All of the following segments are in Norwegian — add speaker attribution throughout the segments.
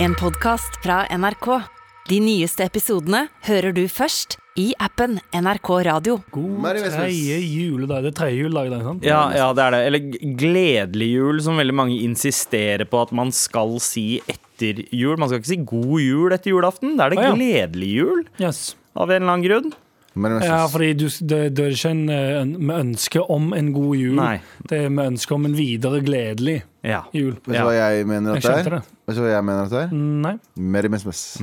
Speaker 1: En podcast fra NRK. De nyeste episodene hører du først i appen NRK Radio.
Speaker 2: God
Speaker 3: Merry Christmas.
Speaker 2: tredje juledag. Det er tredje juledag i dag, sant?
Speaker 4: Ja, ja, det er det. Eller gledelig jul, som veldig mange insisterer på at man skal si etter jul. Man skal ikke si god jul etter julaften. Da er det
Speaker 2: Å, ja.
Speaker 4: gledelig jul,
Speaker 2: Yes.
Speaker 4: av en eller annen grunn.
Speaker 3: Men jeg
Speaker 2: Ja,
Speaker 3: synes-
Speaker 2: fordi du, det, det er ikke en, eh, en, med ønske om en god jul.
Speaker 4: Nei.
Speaker 2: Det er med ønske om en videre gledelig
Speaker 4: Ja.
Speaker 2: jul.
Speaker 3: Vet du hva jeg mener
Speaker 2: Jeg
Speaker 3: at det er?
Speaker 2: skjønte det. Mm.
Speaker 3: Vet du hva jeg mener at det er?
Speaker 2: Nei.
Speaker 3: Merry Christmas.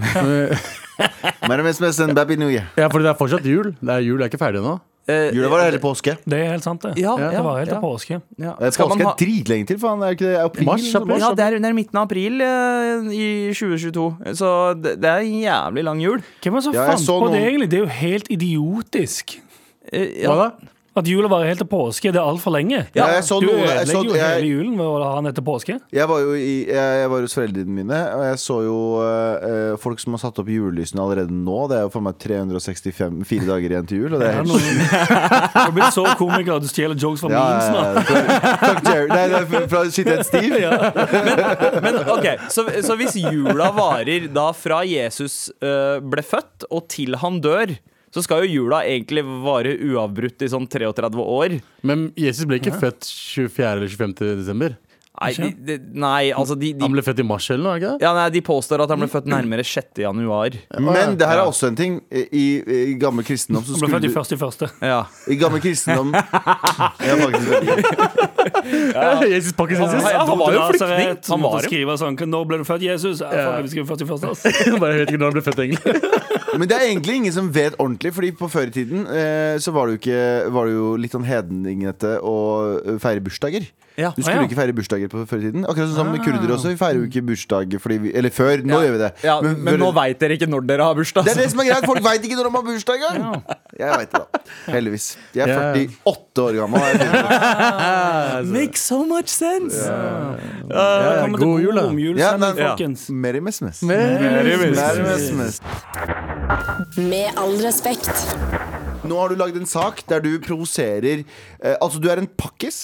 Speaker 3: Merry Christmas and Baby New Year.
Speaker 5: Ja, for det er fortsatt jul. Det er jul, det er ikke ferdig ennå.
Speaker 4: Eh,
Speaker 3: Jula var hele påske.
Speaker 2: Det er helt sant, det.
Speaker 4: Ja, ja,
Speaker 2: det var helt
Speaker 4: ja.
Speaker 2: til påske.
Speaker 4: ja.
Speaker 3: Eh,
Speaker 4: Skal man
Speaker 3: Påske
Speaker 4: ha-
Speaker 3: er dritlenge til, faen. Er ikke det april?
Speaker 5: Mars,
Speaker 3: eller noe
Speaker 5: april.
Speaker 4: ja,
Speaker 3: sånt?
Speaker 4: det er under midten av april eh, i 2022, så det, det er en jævlig lang jul.
Speaker 2: Hvem var det som
Speaker 3: Ja, jeg
Speaker 2: fant
Speaker 3: så
Speaker 2: på det,
Speaker 3: noen-
Speaker 2: egentlig? Det er jo helt idiotisk.
Speaker 4: Eh,
Speaker 5: Hva da?
Speaker 2: At jula varer helt til påske, det er altfor lenge.
Speaker 3: Ja, jeg så
Speaker 2: Du
Speaker 3: noe- jeg så-
Speaker 2: ødelegger jo
Speaker 3: jeg-
Speaker 2: hele julen ved å ha den etter påske.
Speaker 3: Jeg var jo i, jeg, jeg var hos foreldrene mine, og jeg så jo eh, eh, folk som har satt opp julelysene allerede nå. Det er jo for meg 365 fire dager igjen til jul. Og det er
Speaker 2: Ja,
Speaker 3: helt
Speaker 2: noen- Du har blitt så komiker at du stjeler jokes fra
Speaker 3: ja,
Speaker 2: memes nå.
Speaker 3: ja, ja. Fra- Fuck Jerry. Nei, det er fra- fra Shithead Steve.
Speaker 4: Men ok, så, så hvis jula varer da fra Jesus eh, ble født og til han dør, så skal jo jula egentlig vare uavbrutt i sånn 33 år.
Speaker 5: Men Jesus ble ikke født 24. eller 25. desember.
Speaker 4: Nei, de, de, nei altså de, de
Speaker 5: Han ble født i mars eller noe, er det ikke det?
Speaker 4: Ja, nei, De påstår at han ble født nærmere 6. januar.
Speaker 3: Men det her er også en ting. I, i gammel kristendom
Speaker 2: Du ble
Speaker 3: så skulle
Speaker 2: født i
Speaker 3: du
Speaker 2: første i første.
Speaker 4: Ja.
Speaker 3: I gammel kristendom Ja, faktisk veldig
Speaker 5: Jesus pakkes
Speaker 2: Ja,
Speaker 5: Jesus.
Speaker 4: ja,
Speaker 2: Han
Speaker 4: han
Speaker 2: var
Speaker 4: var jo en
Speaker 3: altså.
Speaker 2: flyktning.
Speaker 4: flyktning.
Speaker 2: Han
Speaker 4: Han var
Speaker 2: måtte
Speaker 4: jo-
Speaker 2: skrive sånn Når ble du født, Jesus? Ja, faen, vi skriver 41 ass.
Speaker 5: Bare jeg vet ikke når han ble født, egentlig.
Speaker 3: Men det er egentlig ingen som vet ordentlig, Fordi på før i tiden eh, så var det jo, ikke, var det jo litt sånn hedningete å eh, feire bursdager.
Speaker 4: Ja. Ah.
Speaker 3: Du skulle
Speaker 2: Ah, ja.
Speaker 3: ikke feire bursdager på før i tiden. Akkurat sånn som kurdere også. Vi feirer jo ikke bursdag fordi vi, Eller før. Nå gjør vi det.
Speaker 4: Ja, men,
Speaker 3: før-
Speaker 4: nå veit dere ikke når dere har bursdag.
Speaker 3: det er det som er greit. Folk veit ikke når de har bursdag engang. Jeg veit det, da. Heldigvis. Jeg
Speaker 5: Ja.
Speaker 3: er 48 år gammel. og jeg tenker,
Speaker 4: Makes so much sense!
Speaker 5: Ja,
Speaker 2: Velkommen til
Speaker 5: god jul, da.
Speaker 3: Ja,
Speaker 2: romjulssending,
Speaker 3: men-
Speaker 4: Ja.
Speaker 2: folkens.
Speaker 3: Merry Messmes.
Speaker 4: Merry
Speaker 1: Med all respekt.
Speaker 3: Nå har du lagd en sak der du provoserer eh, Altså, du er en pakkis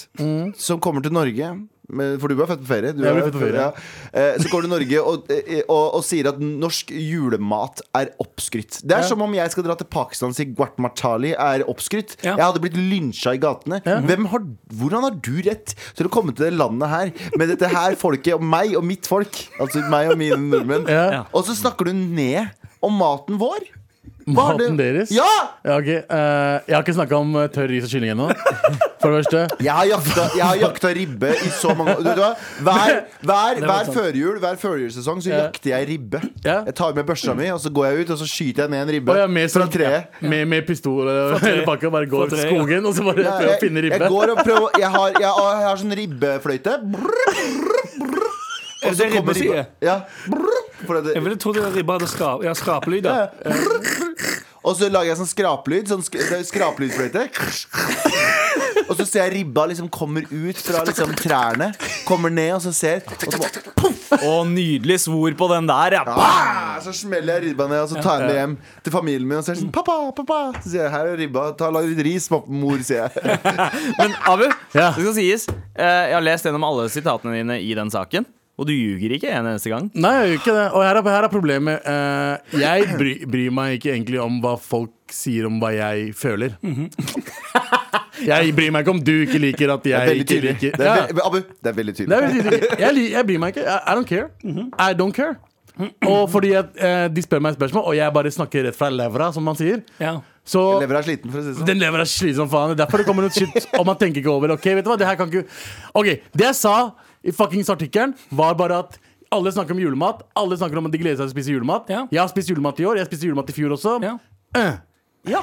Speaker 3: som kommer til Norge. men- For du ble født på ferie. Du
Speaker 5: Jeg ble
Speaker 3: er-
Speaker 5: født på ferie.
Speaker 3: ja. Eh, Så kommer du til Norge og, eh, og, og sier at norsk julemat er oppskrytt. Det er som om jeg skal dra til Pakistan og si guatmatali er oppskrytt.
Speaker 2: Ja.
Speaker 3: Jeg hadde blitt lynsja i gatene. Hvem har, hvordan har du rett til å komme til det landet her med dette her folket og meg og mitt folk? Altså meg og mine nordmenn.
Speaker 5: Ja.
Speaker 3: Og så snakker du ned om maten vår. Hva har
Speaker 5: Maten
Speaker 3: det-
Speaker 5: deres.
Speaker 3: Ja!
Speaker 5: Ja, ok. Eh, jeg har ikke snakka om eh, tørr ris og kylling ennå. For det første.
Speaker 3: Jeg har jakta, jeg har jakta ribbe i så mange år. Vet du hva? Hver, hver, hver førjul Hver førjulssesong så
Speaker 5: Ja.
Speaker 3: jakter jeg ribbe.
Speaker 5: Ja.
Speaker 3: Jeg tar med børsa mi, og så går jeg ut og så skyter jeg ned en ribbe
Speaker 5: Og jeg er med
Speaker 3: fra
Speaker 5: sånn-
Speaker 3: treet.
Speaker 5: Med, med pistol og hele pakka. Bare går
Speaker 2: Fra tre,
Speaker 5: i
Speaker 2: ja.
Speaker 5: skogen og så bare
Speaker 3: Jeg,
Speaker 5: prøver å finne
Speaker 3: jeg
Speaker 5: ribbe.
Speaker 3: går og prøver Jeg har, jeg har, jeg har sånn ribbefløyte. Brr,
Speaker 2: Er det ribbe
Speaker 3: kommer
Speaker 2: sier?
Speaker 3: ribba. Ja. Brr, for at
Speaker 2: Jeg
Speaker 3: det,
Speaker 2: ville trodd det var ribba hadde skrap, ja, skrapelyd. da.
Speaker 3: og så lager jeg sånn skraplyd. Sånn sk det er skraplydfløyte. Og så ser jeg ribba liksom kommer ut fra liksom trærne. Kommer ned, og så ser Og så bare
Speaker 4: Og nydelig svor på den der. Ja.
Speaker 3: Ah,
Speaker 5: Mm.
Speaker 3: så smeller jeg ribba ned, og så tar jeg den med hjem til familien min. Og så er det sånn, pappa, pappa Så sier jeg, her er ribba, ta lag litt ris, pappa, mor, sier jeg.
Speaker 4: Men Abu,
Speaker 5: Ja.
Speaker 4: det skal sies, eh, jeg har lest gjennom alle sitatene dine i den saken, og du ljuger ikke en eneste gang.
Speaker 5: Nei, jeg gjør ikke det. Og her er, her er problemet. Eh, jeg bry, bryr meg ikke egentlig om hva folk sier om hva jeg føler.
Speaker 3: Mhm.
Speaker 5: jeg bryr meg ikke om du ikke liker at
Speaker 3: Det er
Speaker 5: jeg
Speaker 3: veldig
Speaker 5: ikke
Speaker 3: tydelig.
Speaker 5: liker
Speaker 3: Det
Speaker 5: Ja.
Speaker 3: er ve Abu, det er veldig
Speaker 5: Det er
Speaker 3: tydelig.
Speaker 5: veldig tydelig. Jeg, li- jeg bryr meg ikke. I I don't care.
Speaker 3: Mhm.
Speaker 5: I don't care. Og fordi at, eh, de spør meg et spørsmål, og jeg bare snakker rett fra levra, som man sier.
Speaker 2: Ja.
Speaker 5: Så
Speaker 3: Lever er sliten, for å si det sånn.
Speaker 5: den lever er slitsom faen. Det er Derfor det kommer noe shit, og man tenker ikke over det. Ok, vet du hva, det her kan ikke Ok, det jeg sa i fuckings artikkelen, var bare at alle snakker om julemat. Alle snakker om at de gleder seg til å spise julemat.
Speaker 2: Ja.
Speaker 5: Jeg har spist julemat i år. Jeg spiste julemat i fjor også.
Speaker 2: Ja.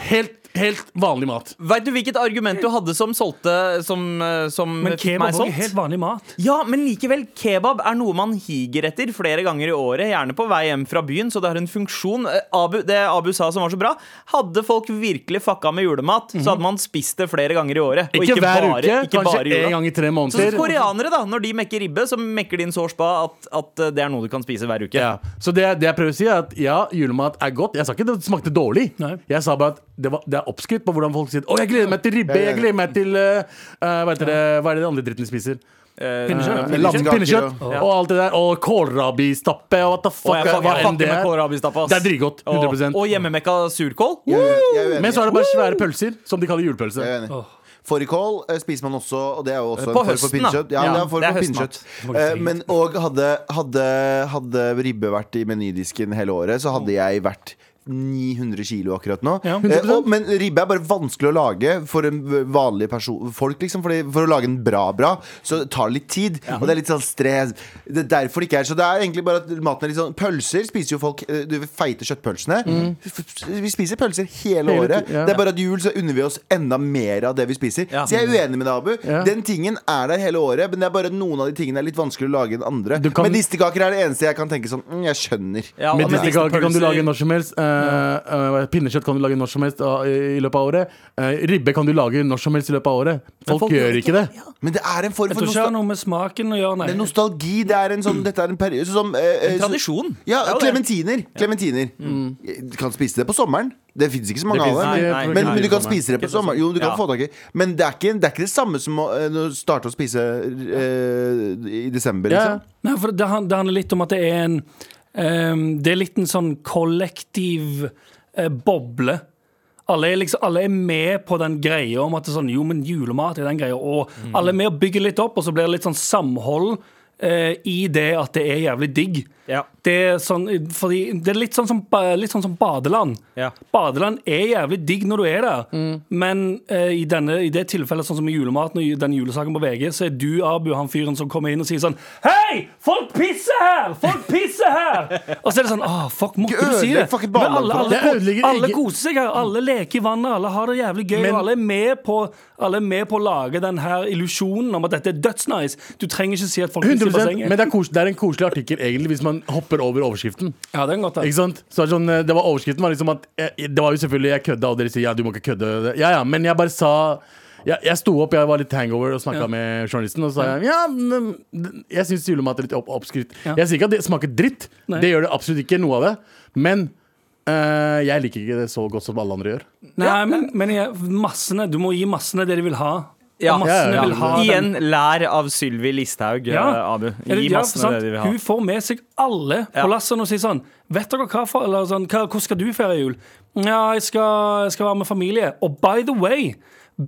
Speaker 5: Helt, helt vanlig mat.
Speaker 4: Veit du hvilket argument du hadde som solgte som, eh, som
Speaker 2: Men
Speaker 4: fikk meg
Speaker 2: kebab er
Speaker 4: solgt?
Speaker 2: helt vanlig mat.
Speaker 4: Ja, men likevel, kebab er noe man higer etter flere ganger i året, gjerne på vei hjem fra byen, så det har en funksjon. Eh, Abu, det Abu sa som var så bra, hadde folk virkelig fucka med julemat, så hadde man spist det flere ganger i året.
Speaker 5: Mhm. Ikke, hver
Speaker 4: bare,
Speaker 5: uke,
Speaker 4: ikke bare i
Speaker 5: kanskje
Speaker 4: jula.
Speaker 5: en gang i tre
Speaker 4: Så
Speaker 5: måneder.
Speaker 4: som koreanere, da, når de mekker ribbe, så mekker de inn så spa at, at eh, det er noe du kan spise hver uke.
Speaker 5: Ja. Så det, det jeg prøver å si, er at ja, julemat er godt. Jeg sa ikke det smakte dårlig.
Speaker 2: Nei.
Speaker 5: Jeg sa bare at det, var, det er oppskrytt på hvordan folk sier Å, jeg gleder meg til ribbe, jeg gleder meg til eh, eh, hva, heter det, hva er det de andre dritten de spiser?
Speaker 4: eh,
Speaker 2: Pinnekjøtt?
Speaker 4: med
Speaker 3: Lam-
Speaker 4: pinnekjøtt.
Speaker 5: Pinnekjøtt pinnekjøtt,
Speaker 4: Ja.
Speaker 5: og alt det der. Og kålrabistappe og what the
Speaker 4: Og
Speaker 5: fuck.
Speaker 4: jeg, fuck,
Speaker 5: hva
Speaker 4: jeg
Speaker 5: enn
Speaker 4: fucker
Speaker 5: det
Speaker 4: med
Speaker 5: er.
Speaker 4: kålrabistappe. ass.
Speaker 5: Det er dritgodt.
Speaker 4: Og-
Speaker 5: 100
Speaker 4: Og hjemmemekka surkål.
Speaker 3: Jeg er u- jeg er uenig.
Speaker 5: Men så er det bare svære pølser, som de kaller julepølse.
Speaker 3: Jeg er uenig. Fårikål eh, spiser man også, og det er jo også
Speaker 4: På
Speaker 3: en form for
Speaker 4: høsten, da.
Speaker 3: pinnekjøtt. Ja,
Speaker 4: Ja,
Speaker 3: det er en form
Speaker 4: det er
Speaker 3: for
Speaker 4: høstmat.
Speaker 3: pinnekjøtt. Eh, Men, og hadde, hadde, hadde ribbe vært i menydisken hele året, så hadde jeg vært 900 kilo akkurat nå.
Speaker 2: Ja,
Speaker 3: Eh,
Speaker 5: 100%.
Speaker 3: og, men ribbe er bare vanskelig å lage for en vanlig person folk. liksom fordi For å lage en bra-bra, så tar det litt tid. Og det er litt sånn stress. Det er derfor det ikke er Så det er egentlig bare at maten er litt sånn Pølser spiser jo folk eh, Du feite kjøttpølsene.
Speaker 4: Mm.
Speaker 3: F- f- Vi spiser pølser hele,
Speaker 5: Hele
Speaker 3: året.
Speaker 5: ti- ja.
Speaker 3: Det er bare at jul så unner vi oss enda mer av det vi spiser.
Speaker 4: Ja.
Speaker 3: Så jeg er uenig med deg, Abu.
Speaker 5: Ja.
Speaker 3: Den tingen er der hele året, men det er bare at noen av de tingene er litt vanskelig å lage enn andre.
Speaker 5: Du kan-
Speaker 3: Men medisterkaker er det eneste jeg kan tenke sånn mm, Jeg skjønner.
Speaker 4: Ja,
Speaker 5: Med
Speaker 4: og med
Speaker 5: medisterkaker kan du
Speaker 4: pølser.
Speaker 5: lage når som helst. eh, eh, pinnekjøtt kan du lage når som helst eh, i løpet av året. Eh, ribbe kan du lage når som helst i løpet av året. Folk, gjør ikke det.
Speaker 3: Men det er en form
Speaker 2: Jeg
Speaker 3: for
Speaker 2: tror ikke det har
Speaker 3: nostal
Speaker 2: noe med smaken å gjøre,
Speaker 3: det er
Speaker 2: nei.
Speaker 3: nostalgi. Det er en sånn, dette er en periode som eh, eh, så-
Speaker 4: Tradisjon.
Speaker 3: Ja,
Speaker 4: Det er jo det.
Speaker 3: klementiner. Klementiner. Du kan spise det på sommeren. Det fins ikke så mange
Speaker 5: Det
Speaker 3: av
Speaker 5: finnes
Speaker 3: dem.
Speaker 5: ikke-
Speaker 4: Nei, nei,
Speaker 3: Men,
Speaker 4: nei,
Speaker 3: men du
Speaker 4: på
Speaker 3: kan
Speaker 4: sommeren.
Speaker 3: spise det
Speaker 4: Ikke
Speaker 3: på
Speaker 4: på
Speaker 3: sommeren. Jo, du kan
Speaker 4: Ja.
Speaker 3: få tak i Men det er ikke, det er ikke det samme som å eh, nå starte å spise eh, i desember.
Speaker 5: Ja,
Speaker 3: Liksom.
Speaker 2: nei for det, han- det handler litt om at det er en ehm, Det er litt en sånn kollektiv eh, boble. Alle er, liksom, alle er med på den greia om at det er sånn, jo, men julemat er den greia. Og alle er med og bygger litt opp, og så blir det litt sånn samhold eh, i det at det er jævlig digg.
Speaker 4: Ja.
Speaker 2: Det er, sånn, fordi, det er litt, sånn som, ba- litt sånn som badeland.
Speaker 4: Ja. Mm.
Speaker 2: Badeland er jævlig digg når du er der, men eh, i, denne, i det tilfellet, sånn som i julematen og i den julesaken på VG, så er du, Abu, han fyren som kommer inn og sier sånn Hei! Folk pisser her! Folk pisser her! og så er det sånn Åh, fuck, måtte du si det?
Speaker 3: Ødelegg fucking
Speaker 2: Men
Speaker 3: badeland
Speaker 2: alle,
Speaker 3: for
Speaker 5: oss.
Speaker 2: alle,
Speaker 5: Det ødelegger
Speaker 2: ko- alle
Speaker 5: ikke-
Speaker 2: koser seg her, alle leker i vannet, alle har det jævlig gøy,
Speaker 5: Men-
Speaker 2: og alle er, med på, alle er med på å lage den her illusjonen om at dette er dødsnice. Du trenger ikke si at folk pisser i
Speaker 5: 100%, men
Speaker 2: bassenget.
Speaker 5: det er, kos, det er en koselig artikkel egentlig hvis man hopper over overskriften.
Speaker 2: Ja, det er godt, det.
Speaker 5: Ikke sant? Så er det sånn, eh, det var Overskriften var liksom at eh, Det var jo selvfølgelig jeg kødda, og dere sier ja, du må ikke kødde. Ja, ja, men jeg bare sa jeg, jeg sto opp, jeg var litt hangover og snakka med journalisten. Og så sa jeg ja, men jeg syns julemat er litt opp oppskrytt.
Speaker 2: Ja.
Speaker 5: Jeg sier ikke at det smaker dritt.
Speaker 2: Nei.
Speaker 5: Det gjør det absolutt ikke, noe av det. Men eh, jeg liker ikke det så godt som alle andre gjør.
Speaker 2: Nei, men, men jeg, massene, du må gi massene det de vil ha.
Speaker 4: Ja,
Speaker 2: Og massene
Speaker 5: ja, ja.
Speaker 2: vil ha
Speaker 4: Igjen
Speaker 2: den.
Speaker 4: lær av Sylvi Listhaug, eh, Abu.
Speaker 2: Eller,
Speaker 4: Gi
Speaker 2: ja,
Speaker 4: massene
Speaker 2: sant?
Speaker 4: det de vil ha.
Speaker 2: Hun får med seg alle på
Speaker 4: Ja.
Speaker 2: lasset og sier sånn Vet dere hva for, eller sånn, hva, Hvor skal du feire jul? Ja, jeg skal, jeg skal være med familie. Og by the way,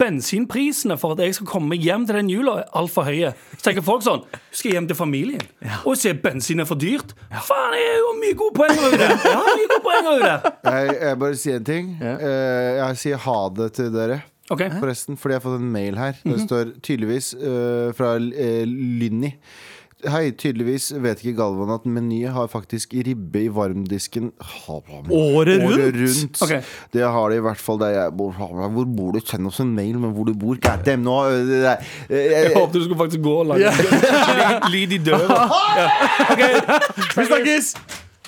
Speaker 2: bensinprisene for at jeg skal komme meg hjem til den jula, er altfor høye. Så tenker folk sånn Du skal hjem til familien, og så er bensin er for dyrt? Faen, jeg er jo mye gode poeng over det! Jeg har mye gode poeng over det!
Speaker 3: Jeg, jeg bare sier en ting. Eh, jeg sier ha det til dere.
Speaker 2: Ok. Mhm.
Speaker 3: Forresten, fordi jeg har fått en mail her. Det står tydeligvis eh, fra eh, Lynni. Hei, tydeligvis vet ikke Galvan at Meny har faktisk ribbe i varmdisken Ha- ha-
Speaker 4: Året rundt?
Speaker 3: rundt.
Speaker 2: Ok.
Speaker 3: Det har de i hvert fall der jeg bor. Ha- ha- Hvor bor du? Send oss en mail med hvor du bor. God damn, nå eh, det der. Eh,
Speaker 2: Jeg
Speaker 3: eh,
Speaker 2: håpet du skulle faktisk gå og lage lyd- lyd i døra.
Speaker 5: Vi snakkes!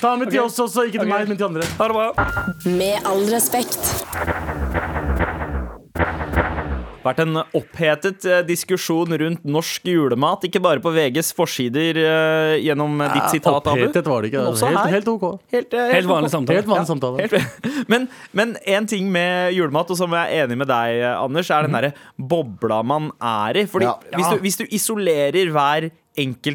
Speaker 5: Ta med til oss også, ikke til meg, men til andre.
Speaker 2: Ha det bra.
Speaker 6: Med all respekt.
Speaker 4: vært en opphetet eh, diskusjon rundt norsk julemat, ikke bare på VGs forsider eh, gjennom eh, ditt sitat, Abu.
Speaker 5: Opphetet var det ikke.
Speaker 4: Men også
Speaker 5: Helt,
Speaker 4: her.
Speaker 5: helt OK.
Speaker 4: Helt, eh,
Speaker 2: Helt vanlig
Speaker 4: ok.
Speaker 2: samtale.
Speaker 5: Helt vanlig samtale.
Speaker 4: Helt- Men, men en ting med julemat, og som jeg er enig med deg, eh, Anders, er den derre bobla man er i. Fordi
Speaker 3: Mhm. Ja.
Speaker 4: hvis, du, hvis du isolerer hver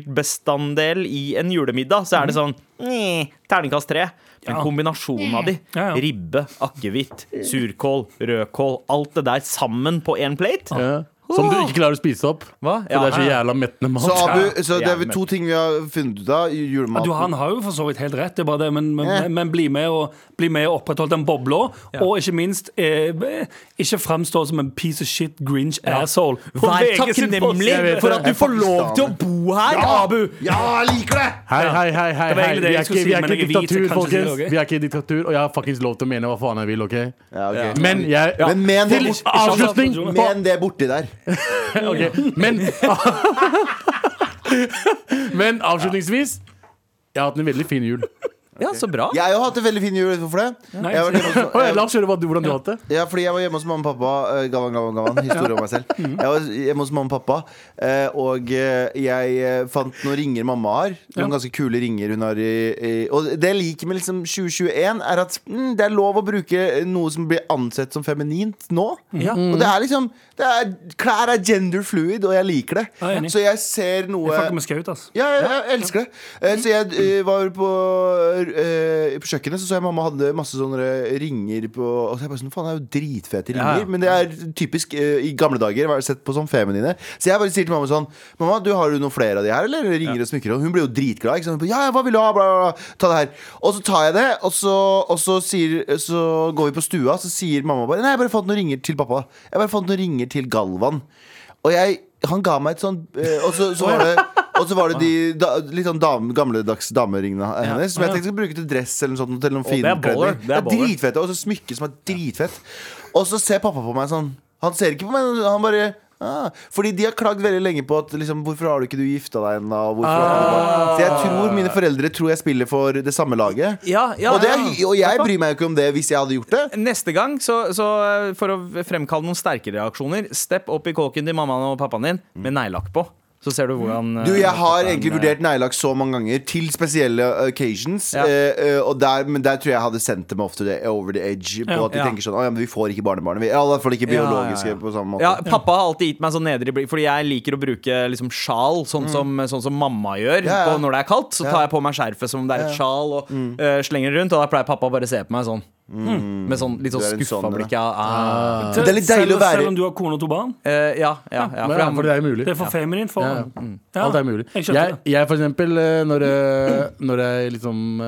Speaker 4: enkeltbestanddel i en julemiddag, så
Speaker 3: Mhm.
Speaker 4: er det sånn "Nye, terningkast tre. Men kombinasjonen av de,
Speaker 2: Ja, ja.
Speaker 4: ribbe, akevitt, surkål, rødkål, alt det der sammen på én plate
Speaker 5: Ja. Som du ikke klarer å spise opp.
Speaker 4: Hva?
Speaker 5: For det er så
Speaker 4: Ja.
Speaker 5: jævla mettende mat.
Speaker 3: Så, Abu, så det
Speaker 4: Ja,
Speaker 3: er vel
Speaker 4: men-
Speaker 3: to ting vi har funnet ut av.
Speaker 2: Ja,
Speaker 3: Julematen.
Speaker 2: Du, han har jo for så vidt helt rett, det er bare det, men, men,
Speaker 3: Ja.
Speaker 2: men, men bli med og, bli med og opprettholde den bobla. Og ikke minst, eh, ikke framstå som en piece of shit grinch asshole. På
Speaker 4: Vær
Speaker 2: VG sin forside.
Speaker 4: takknemlig for at du
Speaker 3: Jeg er
Speaker 4: får lov til å bo her, Abu!
Speaker 3: Ja, jeg liker det!
Speaker 5: Hei, hei, hei, hei,
Speaker 2: Det var
Speaker 5: hei.
Speaker 2: egentlig
Speaker 5: Vi
Speaker 2: det
Speaker 5: er
Speaker 2: jeg
Speaker 5: ikke,
Speaker 2: skulle
Speaker 5: vi
Speaker 2: si,
Speaker 5: er
Speaker 2: men
Speaker 5: ikke i
Speaker 2: jeg er hvit, så
Speaker 5: diktatur,
Speaker 2: kanskje det er
Speaker 5: folkens.
Speaker 2: ok.
Speaker 5: Vi er ikke i diktatur, og jeg har fuckings lov til å mene hva faen jeg vil, OK?
Speaker 3: Ja, ok.
Speaker 5: Men jeg
Speaker 3: Men men-
Speaker 5: Til avslutning på
Speaker 3: Men det borti der.
Speaker 5: Ok, men Men avslutningsvis Jeg har hatt en veldig fin jul.
Speaker 4: Ja, så bra.
Speaker 3: Jeg har jo hatt en veldig fin jul. Hvorfor det?
Speaker 2: Nice.
Speaker 3: Jeg var hjemme hos-
Speaker 5: Å, ja, La oss høre hva du, hvordan du har hatt det.
Speaker 3: Ja, fordi jeg var hjemme hos mamma og pappa. eh, Gavan, gavan, gavan. Historie om meg selv. Jeg var hjemme hos mamma og pappa, eh, og eh, jeg eh, fant noen ringer mamma har. Noen ganske kule ringer hun har i, i Og det jeg liker med liksom 2021, er at mm, det er lov å bruke noe som blir ansett som feminint nå. Og det er liksom det er, Klær er gender fluid, og jeg liker det.
Speaker 2: Jeg er enig.
Speaker 3: Så jeg ser noe
Speaker 2: Jeg fucker med skaut, ass.
Speaker 3: ja, jeg, jeg elsker det. Eh, Så jeg
Speaker 5: Mm.
Speaker 3: eh, var på, eh, på kjøkkenet, så så jeg mamma hadde masse sånne ringer på Og så jeg bare sånn, faen, det er jo dritfete ringer.
Speaker 5: Ja.
Speaker 3: Men det er typisk eh, i gamle dager. Var det sett på som feminine. Så jeg bare sier til mamma sånn Mamma, du har du noen flere av de her, eller? Ringer og smykker. Og sånn? hun blir jo dritglad. Ikke sant? Hun bare, ja, ja, hva vil du ha? Bla, bla, bla. Ta det her. Og så tar jeg det, og så, og så, sier, så går vi på stua, så sier mamma bare Nei, jeg bare fant noen ringer til pappa. Jeg bare fant noen ringer til Galvan. Og jeg, han ga meg et sånn eh, Og så, så var det og så var det de da, litt sånn dam, gamledags dameringene hennes som jeg tenkte jeg skulle bruke til dress eller noe sånt. Til noen
Speaker 4: det er
Speaker 3: fin
Speaker 4: baller.
Speaker 3: kledning.
Speaker 4: Det er
Speaker 3: Det er
Speaker 4: baller.
Speaker 3: dritfett. Og så smykke som er dritfett. Og så ser pappa på meg sånn. Han ser ikke på meg, han bare Ah, fordi de har klagd veldig lenge på at liksom, hvorfor har du ikke du gifta deg ennå? og hvorfor har du
Speaker 4: Ah.
Speaker 3: barn? Så jeg tror mine foreldre tror jeg spiller for det samme laget.
Speaker 4: Ja, ja,
Speaker 3: og, det er,
Speaker 4: ja.
Speaker 3: hy- og jeg bryr meg jo ikke om det hvis jeg hadde gjort det.
Speaker 4: Neste gang, så, så eh, for å fremkalle noen sterke reaksjoner, stepp opp i kåken til mammaen og pappaen din med neglelakk på. Så ser du hvordan eh,
Speaker 3: Du, jeg har
Speaker 4: pappaen,
Speaker 3: egentlig
Speaker 4: eh,
Speaker 3: vurdert neglelakk så mange ganger til spesielle occasions.
Speaker 4: Ja.
Speaker 3: eh, eh, og der, men der tror jeg jeg hadde sendt dem ofte det over the edge. På
Speaker 2: Ja.
Speaker 3: at de
Speaker 4: Ja.
Speaker 3: tenker sånn Å ja, men vi får ikke barnebarnet. Vi, ja, I hvert fall ikke
Speaker 4: Ja, ja,
Speaker 3: biologiske
Speaker 4: ja.
Speaker 3: på samme måte.
Speaker 4: Ja, pappa har alltid gitt meg sånn nedre blikk, fordi jeg liker å bruke liksom sjal, sånn, som, sånn som mamma gjør
Speaker 3: Ja, ja.
Speaker 4: På når det er kaldt. Så
Speaker 3: Ja.
Speaker 4: tar jeg på meg skjerfet som om det er et sjal, og eh, slenger det rundt. Og da pleier pappa å bare se på meg sånn. Med sånn litt sånn
Speaker 3: Du er en
Speaker 4: skuffa
Speaker 3: sånn,
Speaker 4: blikk. Ja, ah.
Speaker 3: Men det er litt deilig
Speaker 2: selv,
Speaker 3: å være-
Speaker 2: selv om du har kone og to barn.
Speaker 4: Eh, ja, ja, ja, for
Speaker 5: Ja,
Speaker 4: han-
Speaker 5: for det er jo mulig.
Speaker 2: Det er for feminint for
Speaker 5: Ja, Mm.
Speaker 2: ham.
Speaker 5: ja.
Speaker 2: Ja,
Speaker 5: Alt er mulig.
Speaker 2: Jeg skjønte
Speaker 5: Jeg, jeg for eksempel, eh, når, eh, når jeg liksom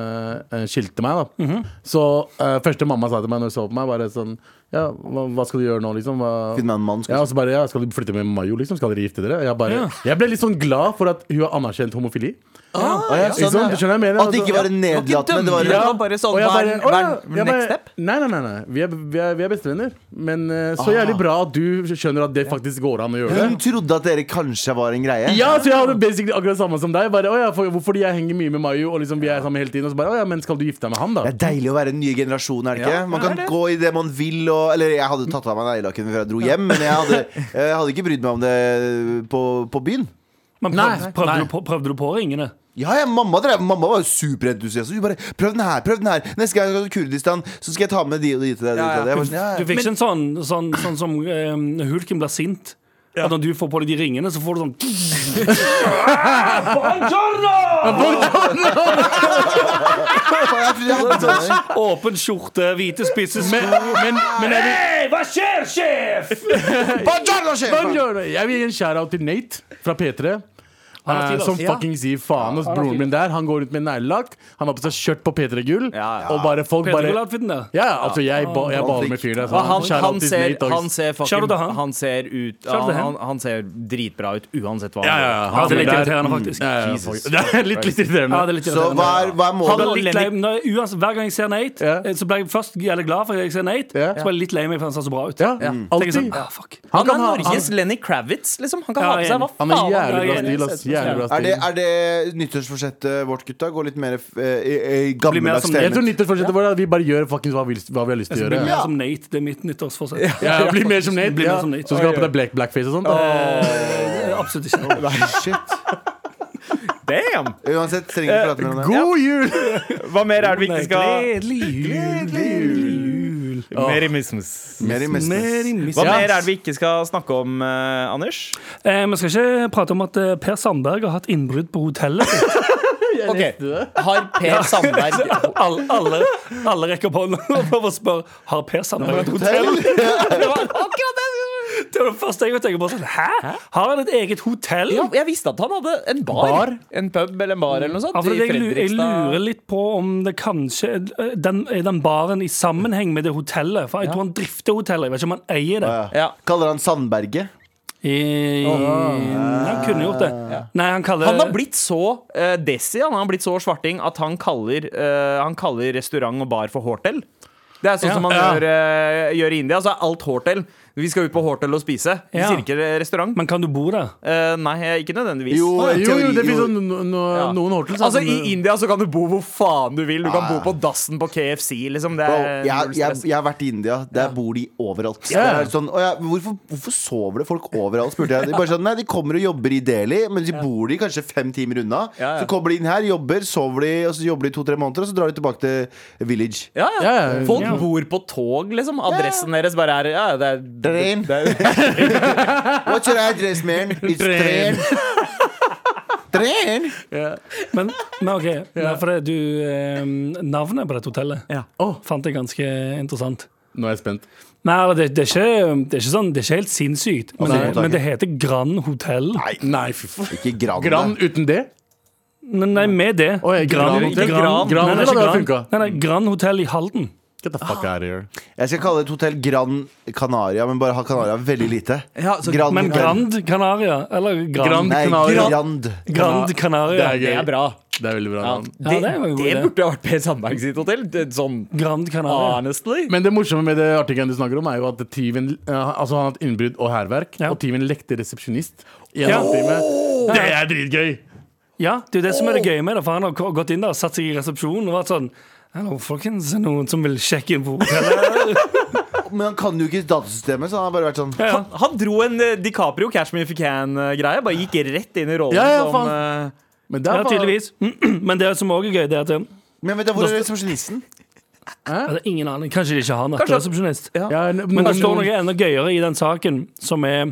Speaker 5: eh, skilte meg, da
Speaker 4: Mhm.
Speaker 5: Så eh, første mamma sa til meg når hun så på meg, bare sånn Ja, hva, hva skal du gjøre nå, liksom? Hva,
Speaker 3: Finne meg en mann, skal
Speaker 5: ja,
Speaker 3: du
Speaker 5: og så bare, ja, skal du flytte med Mayo, liksom? Skal dere gifte dere? Jeg, bare,
Speaker 2: Ja.
Speaker 5: jeg ble litt sånn glad for at hun har anerkjent homofili.
Speaker 3: Å, ja, sånn,
Speaker 5: Ikke sant?
Speaker 3: ja.
Speaker 5: Du skjønner hva jeg mener?
Speaker 3: At
Speaker 5: Altså,
Speaker 3: det ikke var en
Speaker 4: Det var ikke
Speaker 3: nedlatende. Det var
Speaker 4: dømmende.
Speaker 3: en
Speaker 4: Det var bare sånn,
Speaker 5: og jeg
Speaker 4: hva er-
Speaker 5: å
Speaker 4: hva
Speaker 5: ja,
Speaker 4: er
Speaker 5: jeg
Speaker 4: next step?
Speaker 5: Nei, nei, nei, nei. Vi, er, vi, er, vi er bestevenner. Men eh, så
Speaker 4: Ah.
Speaker 5: jævlig bra at du skjønner at det faktisk går an å gjøre.
Speaker 3: Hun trodde at dere kanskje var en greie.
Speaker 5: Ja, så jeg hadde basically akkurat samme som deg. Bare, «Å ja, for, hvorfor jeg henger mye med Mayu, og liksom vi er sammen hele tiden. Og så bare, «Å ja, men skal du gifte deg med han, da?
Speaker 3: Det er deilig å være en ny generasjon, er det ikke?
Speaker 4: Ja,
Speaker 3: Man
Speaker 4: det
Speaker 3: kan
Speaker 4: er det.
Speaker 3: gå i det man vil og Eller jeg hadde tatt av meg neglelakken før jeg dro hjem, men jeg hadde, jeg hadde ikke brydd meg om det på, på byen.
Speaker 2: Men
Speaker 5: Nei,
Speaker 2: prøvde, prøvde,
Speaker 5: nei.
Speaker 2: Du på, prøvde du på ringene?
Speaker 3: Ja, ja, mamma, drev, mamma var jo superentusiastisk. Hun bare 'Prøv den her, prøv den her.' Neste gang jeg skal til Kurdistan, så skal jeg ta med de og de til deg.
Speaker 4: Ja, ja.
Speaker 3: Jeg var sånn, ja,
Speaker 2: Du
Speaker 3: ja.
Speaker 2: fikk ikke en sånn, sånn, sånn som eh, Hulken blir sint? At når du får på deg de ringene, så får du sånn
Speaker 3: Faen, jeg trodde jeg hadde en sånn.
Speaker 2: åpen skjorte, hvite spisse sko.
Speaker 5: Men, men jeg,
Speaker 2: Hei, hva skjer, sjef?
Speaker 3: sånn, Buongiorno,
Speaker 5: vil,
Speaker 3: sjef!
Speaker 5: jeg vil gi en shout-out til Nate fra P3.
Speaker 2: Han er
Speaker 5: eh,
Speaker 2: fin, ass.
Speaker 5: som
Speaker 2: Ja.
Speaker 5: fucking sier faen. Og broren min der, han går rundt med neglelakk. Han har på seg skjørt på P3-gull.
Speaker 4: Ja, ja.
Speaker 5: Og bare folk bare Ja,
Speaker 2: Pedagog-outfiten der.
Speaker 5: ja, altså, jeg, ba, jeg baler med fyren der. så
Speaker 4: Og han,
Speaker 5: shout-out
Speaker 4: han,
Speaker 5: til
Speaker 4: ser,
Speaker 5: Nate,
Speaker 4: han
Speaker 5: ass.
Speaker 4: ser
Speaker 2: Shout out
Speaker 4: fucking
Speaker 2: til han.
Speaker 4: Han ser
Speaker 2: out
Speaker 4: ut han,
Speaker 2: til
Speaker 4: han,
Speaker 2: han.
Speaker 4: han ser dritbra ut uansett hva
Speaker 5: Ja, ja, ja.
Speaker 2: Ja, det er litt
Speaker 5: der-
Speaker 2: irriterende, faktisk.
Speaker 5: Ja, ja,
Speaker 4: Jesus
Speaker 5: fuck. Det er litt, litt irriterende.
Speaker 2: Ja, det er litt
Speaker 3: Så hva er, hva er
Speaker 2: Han
Speaker 3: målet?
Speaker 2: var litt lei, når, jeg- uansett, hver gang jeg ser Nate,
Speaker 5: Ja.
Speaker 2: eh, så ble jeg først jævlig glad for at jeg ser Nate.
Speaker 5: Ja.
Speaker 2: Så ble jeg litt lei meg for han så så bra ut.
Speaker 5: Ja,
Speaker 2: Tenker jeg
Speaker 5: alltid.
Speaker 2: sånn, ah, fuck.
Speaker 5: Han
Speaker 4: Han
Speaker 5: kan
Speaker 4: er
Speaker 5: ha-
Speaker 4: Norges Lenny Kravitz, liksom. Han kan
Speaker 2: Ja,
Speaker 4: ha på seg hva
Speaker 2: enig.
Speaker 5: Han
Speaker 4: faen
Speaker 5: er jævlig bra
Speaker 2: Ja,
Speaker 5: stil, ass. Jævlig bra
Speaker 3: Er det,
Speaker 5: stil.
Speaker 3: er det nyttårsforsettet vårt, gutta? Gå litt mer eh, i, i
Speaker 2: mer
Speaker 3: gammeldags
Speaker 2: som-
Speaker 5: Jeg tror
Speaker 3: stemmer?
Speaker 5: nyttårsforsettet vårt er at vi bare gjør fucking hva vi, hva vi har lyst til å
Speaker 2: Bli
Speaker 5: gjøre.
Speaker 2: mer
Speaker 3: Ja.
Speaker 2: som Nate. Det er mitt nyttårsforsett.
Speaker 5: Ja, bli mer som Nate.
Speaker 2: Bli mer
Speaker 5: ja.
Speaker 2: som Nate.
Speaker 5: Så skal du ha på deg black, blackface og sånt. da.
Speaker 2: Eh, Absolutt ikke.
Speaker 3: Shit.
Speaker 4: Damn!
Speaker 3: Uansett, trenger ikke prate mer om det.
Speaker 5: God jul!
Speaker 4: Hva mer er det vi ikke skal
Speaker 2: jul.
Speaker 4: Merry Christmas.
Speaker 3: Mer i mesternes.
Speaker 4: Hva
Speaker 5: Ja.
Speaker 4: mer er det vi ikke skal snakke om, eh, Anders?
Speaker 2: Eh, Vi skal ikke prate om at eh, Per Sandberg har hatt innbrudd på hotellet. sitt.
Speaker 4: Har Per Sandberg
Speaker 2: Alle, alle, alle rekker opp hånda for å spørre Har Per Sandberg et hotell.
Speaker 3: Hotell?
Speaker 4: Det var akkurat det!
Speaker 2: Det var det første jeg tenkte på. Sånn, Hæ? Har han et eget hotell?
Speaker 4: Jo, jeg visste at han hadde en bar. En pub eller en bar eller noe sånt.
Speaker 2: Ja, for
Speaker 4: i
Speaker 2: Altså, jeg, lu- jeg
Speaker 4: Fredrikstad.
Speaker 2: lurer litt på om det kanskje er den, er den baren i sammenheng med det hotellet. For jeg tror han drifter hotellet. Jeg vet ikke om han eier det.
Speaker 3: Ja.
Speaker 4: Ja.
Speaker 3: Kaller han Sandberget?
Speaker 2: I, Han kunne gjort det. Nei, han kaller
Speaker 4: Han har blitt så eh, desi, han har blitt så svarting at han kaller, eh, han kaller restaurant og bar for hortel. Det er sånn
Speaker 2: Ja.
Speaker 4: som man
Speaker 2: Ja.
Speaker 4: gjør, eh, gjør i India. Så er alt hortel. Vi skal ut på Hortel og spise. Vi
Speaker 2: Ja.
Speaker 4: sier ikke restaurant.
Speaker 2: Men kan du bo der?
Speaker 4: Eh, nei, ikke nødvendigvis.
Speaker 3: Jo,
Speaker 5: Jo, jo, det finnes
Speaker 3: teori,
Speaker 5: sånn no, no,
Speaker 4: Ja.
Speaker 5: noen hortels. eh,
Speaker 4: Altså I India så kan du Ah. bo hvor faen du vil. Du kan
Speaker 3: Ja,
Speaker 4: bo på dassen på KFC. Liksom. Det
Speaker 3: Bro,
Speaker 4: er
Speaker 3: jeg,
Speaker 4: null
Speaker 3: jeg,
Speaker 4: stress.
Speaker 3: jeg har vært i India. Der bor de overalt.
Speaker 5: Ja.
Speaker 3: Det er Sånn, og jeg, hvorfor, hvorfor sover det folk overalt? spurte jeg. De, bare sånn, nei, de kommer og jobber i Delhi, men de bor de kanskje fem timer unna.
Speaker 4: Ja, ja.
Speaker 3: Så kommer de inn her, jobber, sover de, og så jobber de to-tre måneder, og så drar de tilbake til village.
Speaker 4: ja, ja.
Speaker 5: Ja, ja.
Speaker 4: Folk
Speaker 2: Ja.
Speaker 4: bor på tog, liksom. Adressen deres bare er ja, det er,
Speaker 3: Train.
Speaker 4: Det er,
Speaker 3: What's your address, man? It's train. Train?
Speaker 2: Men, men OK, nei, for det, du, eh, navnet på dette hotellet
Speaker 4: Ja.
Speaker 5: Åh.
Speaker 2: fant jeg ganske interessant.
Speaker 5: Nå er jeg spent.
Speaker 2: Nei, eller det, det, er ikke, det er ikke sånn, det er ikke helt sinnssykt,
Speaker 5: Altså,
Speaker 2: men,
Speaker 3: nei,
Speaker 2: det,
Speaker 3: takk.
Speaker 2: men det heter Grand Hotell.
Speaker 5: Nei, nei fy faen.
Speaker 3: Ikke Gran.
Speaker 5: Gran uten det?
Speaker 2: Nei, nei med det.
Speaker 5: Oi, ikke Grand Hotel.
Speaker 2: Grand,
Speaker 5: Grand
Speaker 2: nei, det er
Speaker 5: Hotel
Speaker 2: ikke
Speaker 5: hadde
Speaker 2: Grand.
Speaker 5: funket.
Speaker 2: Nei, nei, Grand Hotel i Halden.
Speaker 5: Get the fuck out of here.
Speaker 3: Jeg skal kalle det et hotell Gran Canaria, men bare ha Canaria veldig lite.
Speaker 4: Ja, så-
Speaker 3: Gran
Speaker 2: Men
Speaker 3: Hotel.
Speaker 2: Grand Canaria, eller Grand,
Speaker 3: Nei,
Speaker 5: Canaria.
Speaker 3: Grand.
Speaker 2: Grand
Speaker 5: Det
Speaker 2: Canaria.
Speaker 5: er gøy.
Speaker 4: det er bra.
Speaker 5: Det er veldig bra
Speaker 4: Ja,
Speaker 5: navn.
Speaker 2: Ja, det var en god idé.
Speaker 4: burde ha vært Per Sandberg sitt hotell. Det- Sånn
Speaker 2: Grand Canaria.
Speaker 4: honestly.
Speaker 5: Men det morsomme med det artikkelen du snakker om, er jo at tyven eh, Altså han har hatt innbrudd og hærverk,
Speaker 2: Ja.
Speaker 5: og tyven lekte resepsjonist i en
Speaker 2: Ja.
Speaker 5: halvtime. Det er dritgøy!
Speaker 2: Ja, det er jo det som er det gøye med det, for han har gå- gått inn der og satt seg i resepsjonen og vært sånn Hallo, folkens, er det noen som vil sjekke inn på hotellet?
Speaker 3: Men han kan jo ikke datasystemet, så han har bare vært sånn
Speaker 2: Ja, ja.
Speaker 4: Han, han dro en eh, DiCaprio Cash Me If You Can-greie. Bare gikk rett inn i rollen
Speaker 5: Ja, ja,
Speaker 4: som eh,
Speaker 5: Men det
Speaker 2: Ja,
Speaker 5: er bare-
Speaker 2: tydeligvis. Men det som òg er gøy, det er at eh, det
Speaker 3: Men vet du, hvor er resepsjonisten?
Speaker 2: er det ingen aning. Kanskje de ikke har
Speaker 4: Kanskje-
Speaker 2: nettresepsjonist.
Speaker 5: Ja, n-
Speaker 2: Men det
Speaker 5: noen-
Speaker 2: står noe enda gøyere i den saken, som er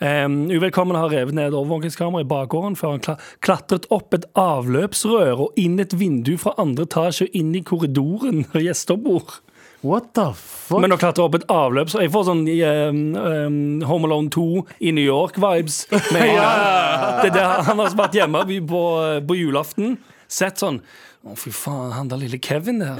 Speaker 2: Um, uvedkommende har revet ned et overvåkingskamera i bakgården før han kla klatret opp et avløpsrør og inn et vindu fra andre etasje og inn i korridoren og gjesterbord.
Speaker 5: What the fuck?
Speaker 2: Men å klatre opp et avløp så Jeg får sånn um, um, Home Alone 2 i New York-vibes. med en gang. Det er det han har vært hjemme vi på, på julaften. Sett sånn Å, fy faen, han der lille Kevin der.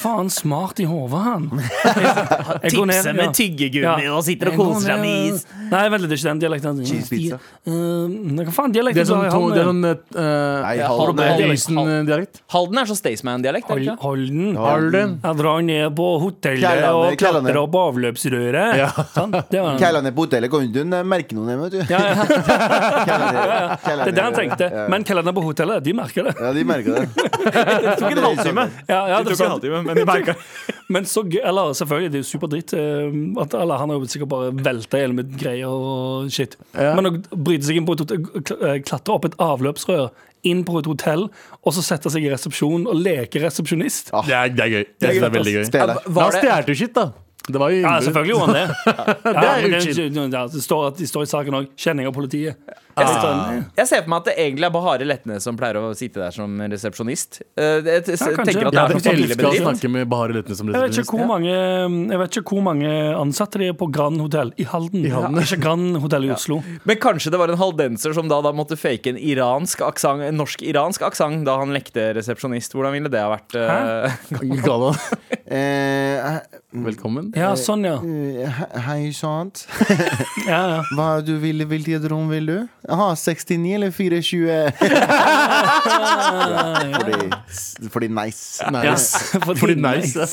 Speaker 2: Faen, smart i hodet, han. Jeg går ned,
Speaker 4: tipser med
Speaker 2: ja.
Speaker 4: tyggegummi
Speaker 2: Ja.
Speaker 4: og sitter og
Speaker 2: Jeg går
Speaker 4: koser seg med
Speaker 2: ned,
Speaker 4: is.
Speaker 2: Nei, vent litt, det er ikke den dialekten.
Speaker 3: Cheese pizza.
Speaker 2: Eh, nei, hva faen, dialekten
Speaker 5: det er
Speaker 2: så
Speaker 5: sånn,
Speaker 2: har
Speaker 5: to-
Speaker 2: han, eh,
Speaker 5: det er sånn
Speaker 3: Nei,
Speaker 5: eh,
Speaker 3: han
Speaker 4: Halden er- eh.
Speaker 3: er
Speaker 5: Halden-dialekt.
Speaker 4: Halden er sånn Staysman-dialekt. er det
Speaker 2: Hold,
Speaker 4: ikke?
Speaker 2: hold den.
Speaker 5: Halden.
Speaker 2: Jeg drar ned på hotellet
Speaker 3: Kjellerne,
Speaker 2: og
Speaker 3: kjellerne.
Speaker 2: klatrer opp avløpsrøret. Sånn, det var den.
Speaker 3: Kæla ned på hotellet, kommer du til å merke noe ned, vet du.
Speaker 2: Ja, ja.
Speaker 3: Kæla ned, kæla
Speaker 2: Det er det han
Speaker 3: ned.
Speaker 2: tenkte.
Speaker 3: Ja.
Speaker 2: Men kalenderen på hotellet, de merker det.
Speaker 3: Ja, de merker det.
Speaker 4: Det tok en halvtime.
Speaker 2: Ja, ja, det
Speaker 4: Det
Speaker 2: er
Speaker 4: tok en
Speaker 2: sant.
Speaker 4: halvtime, men jeg merket-
Speaker 2: Men så gøy Eller selvfølgelig, det er jo superdritt. eh, At alle han har jo sikkert bare velta gjennom med greier og shit.
Speaker 5: Ja.
Speaker 2: Men å bryte seg inn på et hotell, kl- eh, klatre opp et avløpsrør, inn på et hotell, og så sette seg i resepsjon og leke resepsjonist.
Speaker 3: Ah.
Speaker 5: Det er, det er gøy. Jeg synes det er veldig gøy.
Speaker 3: Spela.
Speaker 5: Han
Speaker 4: Var det,
Speaker 5: stjal jo shit, da. Det var jo
Speaker 2: Ja,
Speaker 5: innbrudd.
Speaker 2: selvfølgelig gjorde han det. Ja, men det,
Speaker 5: utskilt.
Speaker 2: er- ja, det, står, at- det står i saken òg. Kjenning av politiet.
Speaker 4: jeg ser for meg at det egentlig er Bahare Letnes som pleier å sitte der som resepsjonist. Eh, Jeg t-
Speaker 2: kanskje.
Speaker 4: tenker at
Speaker 5: Ja,
Speaker 4: det er noe
Speaker 5: jeg elsker å
Speaker 4: familiebedrift.
Speaker 5: snakke med Bahare Letne som
Speaker 2: Jeg vet, ikke
Speaker 5: resepsjonist.
Speaker 2: hvor mange, jeg vet ikke hvor mange ansatte de er på Grand Hotell i Halden.
Speaker 5: Halden.
Speaker 2: Ja, Ikke Grand Hotell i Oslo.
Speaker 4: Men kanskje det var en haldenser som da, da måtte fake en iransk aksang, en norsk-iransk aksang da han lekte resepsjonist. Hvordan ville det ha vært? eh,
Speaker 5: Gala,
Speaker 3: Eh,
Speaker 5: velkommen.
Speaker 2: Ja, sånn, ja.
Speaker 3: he- hei, sant.
Speaker 2: ja, ja.
Speaker 3: Hva du vil, hvilket rom vil du? Aha, 69 eller 420? fordi, fordi nice.
Speaker 2: Ja,
Speaker 5: Nice.
Speaker 2: fordi,
Speaker 5: Fordi nice.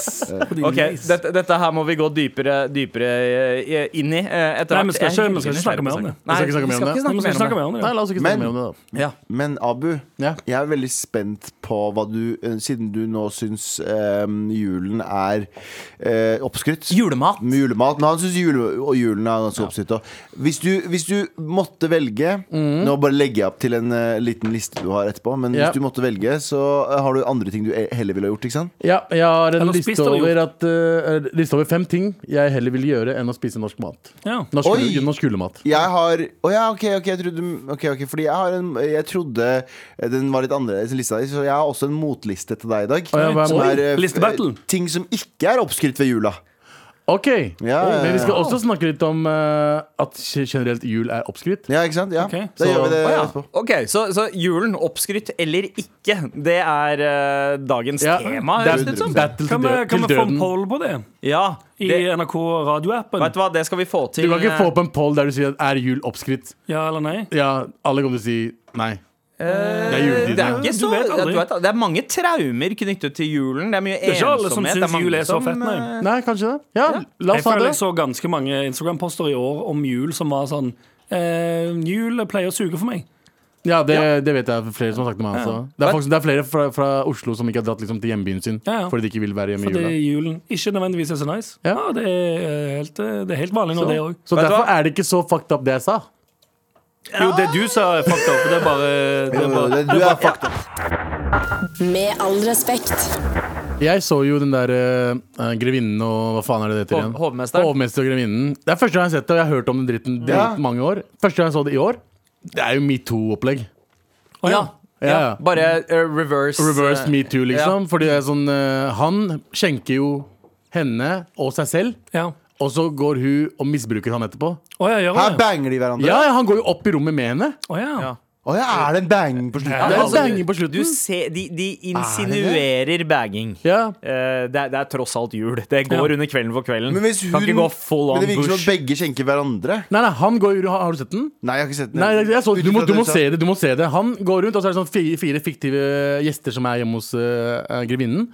Speaker 2: Fordi
Speaker 4: Ok,
Speaker 2: nice.
Speaker 4: dette, dette her må vi gå dypere, dypere eh, inn i eh, etter
Speaker 2: Nei,
Speaker 4: hvert.
Speaker 2: men skal ikke-
Speaker 4: Jeg er
Speaker 2: vi skal ikke
Speaker 4: nysgjerrig
Speaker 2: snakke
Speaker 4: på
Speaker 2: mer om
Speaker 4: saken.
Speaker 2: det.
Speaker 5: Vi skal ikke snakke mer om det.
Speaker 2: Nei, men skal vi snakke
Speaker 4: det.
Speaker 2: mer om det?
Speaker 5: Nei, la oss ikke snakke
Speaker 3: Men-
Speaker 5: mer om det, da.
Speaker 4: Ja.
Speaker 3: Men Abu,
Speaker 5: Ja.
Speaker 3: jeg er veldig spent på hva du eh, Siden du nå syns eh, julen er eh, oppskrytt.
Speaker 4: Julemat.
Speaker 3: Med julemat. Men han syns jule, og julen er ganske oppskrytt. også. Hvis, du- hvis du måtte velge Nå bare legger jeg opp til en eh, liten liste du har etterpå. Men
Speaker 5: Ja.
Speaker 3: hvis du måtte velge, så eh, har du andre ting du eh, heller ville ha gjort. ikke sant?
Speaker 5: Ja, jeg har en
Speaker 2: Eller spist
Speaker 5: liste
Speaker 2: eller
Speaker 5: over,
Speaker 2: gjort?
Speaker 5: at, eh, liste over fem ting jeg heller vil gjøre enn å spise norsk mat.
Speaker 2: Ja.
Speaker 5: Norsk,
Speaker 3: Oi!
Speaker 5: jule- norsk julemat.
Speaker 3: Jeg har Å ja, ok, ok, jeg trodde Ok, ok, fordi jeg har en Jeg trodde eh, den var litt annerledes enn lista di, så jeg har også en motliste til deg i dag.
Speaker 5: Å ja, hva er
Speaker 3: som
Speaker 5: mot-
Speaker 3: eh,
Speaker 2: Listebattle.
Speaker 3: eh, ting som ikke er oppskrytt ved jula.
Speaker 5: Ok,
Speaker 3: Ja, ja,
Speaker 5: Men vi skal
Speaker 3: ja.
Speaker 5: også snakke litt om eh, at generelt jul er oppskrytt.
Speaker 3: Ja, ikke sant? Ja,
Speaker 2: Ok,
Speaker 3: Da
Speaker 5: så-
Speaker 3: gjør vi det
Speaker 4: Å ja.
Speaker 3: etterpå.
Speaker 4: Ok, så, så julen, oppskrytt eller ikke, det er eh, dagens
Speaker 5: Ja.
Speaker 4: tema,
Speaker 5: Det er
Speaker 4: høres det ut som.
Speaker 5: battle til,
Speaker 2: Kan vi,
Speaker 5: død,
Speaker 2: kan
Speaker 5: til
Speaker 2: vi få en
Speaker 5: døden.
Speaker 2: poll på det
Speaker 4: Ja,
Speaker 2: i eh,
Speaker 4: det,
Speaker 2: NRK radioappen?
Speaker 4: vet du hva, det skal vi få
Speaker 5: Du
Speaker 4: til.
Speaker 5: kan ikke
Speaker 4: eh,
Speaker 5: få opp en poll der du sier at er jul oppskrytt.
Speaker 2: Ja eller nei?
Speaker 5: Ja, alle kommer til å si nei. Det er juletid.
Speaker 4: eh, Det er,
Speaker 5: ja.
Speaker 4: ikke så,
Speaker 2: Du vet aldri.
Speaker 4: du vet, det er mange traumer knyttet til julen. Det er mye
Speaker 2: er ikke alle som
Speaker 4: ensomhet.
Speaker 2: syns
Speaker 4: mange
Speaker 2: jul er så
Speaker 4: som,
Speaker 2: fett, nei.
Speaker 4: eh,
Speaker 5: Nei, kanskje det. Ja, la
Speaker 2: Jeg
Speaker 5: oss ha
Speaker 2: føler
Speaker 5: det.
Speaker 2: jeg så ganske mange Instagram-poster i år om jul som var sånn eh, Jul pleier å suge for meg.
Speaker 5: Ja, det, det vet jeg flere som har sagt til meg. Altså. Det, er folk, som- det er flere fra, fra Oslo som ikke har dratt liksom, til hjembyen sin
Speaker 2: Ja, ja.
Speaker 5: fordi de ikke vil være hjemme i
Speaker 2: Fordi
Speaker 5: jula.
Speaker 2: julen ikke nødvendigvis er så nice.
Speaker 5: Ja.
Speaker 2: Ja, det, er eh, helt, eh, det er helt vanlig nå, det òg.
Speaker 5: Så
Speaker 4: Vet du
Speaker 5: derfor
Speaker 4: hva?
Speaker 5: er det ikke så fucked up, det jeg sa.
Speaker 2: Jo, det du sa, er fucked up. Det er bare, det er bare
Speaker 3: Du er fucked up.
Speaker 6: Med all respekt.
Speaker 5: Jeg så jo den der eh, grevinnen og hva faen er det det heter
Speaker 4: Hov-
Speaker 5: igjen?
Speaker 4: hovmesteren.
Speaker 5: Hovmester og grevinnen. Det er første gang jeg har sett det, og jeg har hørt om den dritten drit
Speaker 3: Ja.
Speaker 5: mange år. Første gang jeg så det i år, det er jo metoo-opplegg.
Speaker 2: Å, ja.
Speaker 5: Ja,
Speaker 4: ja,
Speaker 5: ja.
Speaker 4: bare eh, reverse.
Speaker 5: Reverse
Speaker 4: eh,
Speaker 5: metoo, liksom. Fordi det er sånn eh, Han skjenker jo henne og seg selv,
Speaker 2: Ja.
Speaker 5: og så går hun og misbruker han etterpå.
Speaker 2: Å, ja, gjør
Speaker 3: Her
Speaker 2: hun det?
Speaker 3: banger de hverandre.
Speaker 5: Ja, ja, han går jo opp i rommet med henne.
Speaker 2: Å, ja.
Speaker 4: Ja.
Speaker 3: Å ja, er det en banging på slutten?
Speaker 5: Det er
Speaker 4: Ja,
Speaker 5: jo
Speaker 4: altså,
Speaker 5: banging på
Speaker 4: Du
Speaker 5: slutten.
Speaker 4: ser, de, de insinuerer bagging.
Speaker 5: Ja.
Speaker 4: Eh, det, er, det er tross alt jul. Det går
Speaker 2: Ja.
Speaker 4: under kvelden for kvelden.
Speaker 3: Men hvis
Speaker 4: kan ikke
Speaker 3: hun-
Speaker 4: gå full
Speaker 3: Men
Speaker 4: on
Speaker 3: det virker som
Speaker 4: bush.
Speaker 3: at begge skjenker hverandre.
Speaker 5: Nei, nei, han går jo Har du sett den?
Speaker 3: Nei, jeg har ikke sett den.
Speaker 5: Nei, jeg så, du, må,
Speaker 3: Utifra
Speaker 5: du må
Speaker 3: det sa-
Speaker 5: se det. du må se det Han går rundt, og så er det sånn fire, fire fiktive gjester som er hjemme hos eh, grevinnen.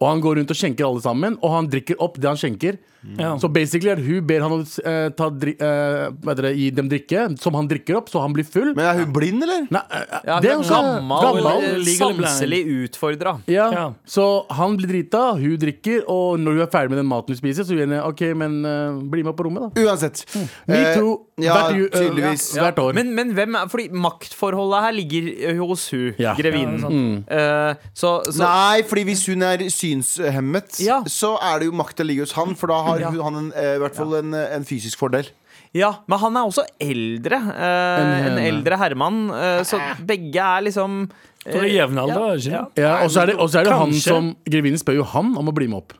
Speaker 5: Og han går rundt og skjenker alle sammen, og han drikker opp det han skjenker.
Speaker 2: Ja.
Speaker 5: Så basically er det hun ber han å eh, ta, dri, eh, hva heter det, gi dem drikke, som han drikker opp, så han blir full.
Speaker 3: Men er hun blind, eller?
Speaker 5: Nei, eh,
Speaker 4: Ja,
Speaker 5: det
Speaker 4: det
Speaker 5: er også
Speaker 2: sånn
Speaker 4: gammel,
Speaker 5: gammel.
Speaker 4: eh,
Speaker 2: legally blind.
Speaker 4: sanselig utfordra.
Speaker 5: Ja.
Speaker 2: Ja.
Speaker 5: Så han blir drita, hun drikker, og når hun er ferdig med den maten hun spiser, så sier hun OK, men eh, bli med på rommet, da.
Speaker 3: Uansett. Eh,
Speaker 5: Metoo.
Speaker 3: ja,
Speaker 5: hvert, ju- eh,
Speaker 3: tydeligvis.
Speaker 5: ja, hvert år.
Speaker 4: Men, men hvem er Fordi maktforholdet her ligger eh, hos hun,
Speaker 5: Ja.
Speaker 4: grevinnen.
Speaker 2: Ja, sånn.
Speaker 5: Mm.
Speaker 4: Eh, så, så
Speaker 3: Nei, fordi hvis hun er synshemmet,
Speaker 4: Ja.
Speaker 3: så er det jo makta ligger hos han, for da har
Speaker 4: Ja.
Speaker 3: hun, han en, eh, i hvert fall en, eh, en fysisk fordel.
Speaker 4: Ja, men han er også eldre. Eh,
Speaker 5: Enn
Speaker 4: en
Speaker 5: henne.
Speaker 4: eldre herremann. Eh, så begge er liksom eh,
Speaker 2: Så det er jevnaldra, ikke
Speaker 4: ja.
Speaker 2: sant?
Speaker 5: Ja, eh, og så er det, og så er det han
Speaker 2: Kanskje.
Speaker 5: som Grevinnen spør jo han om å bli med opp.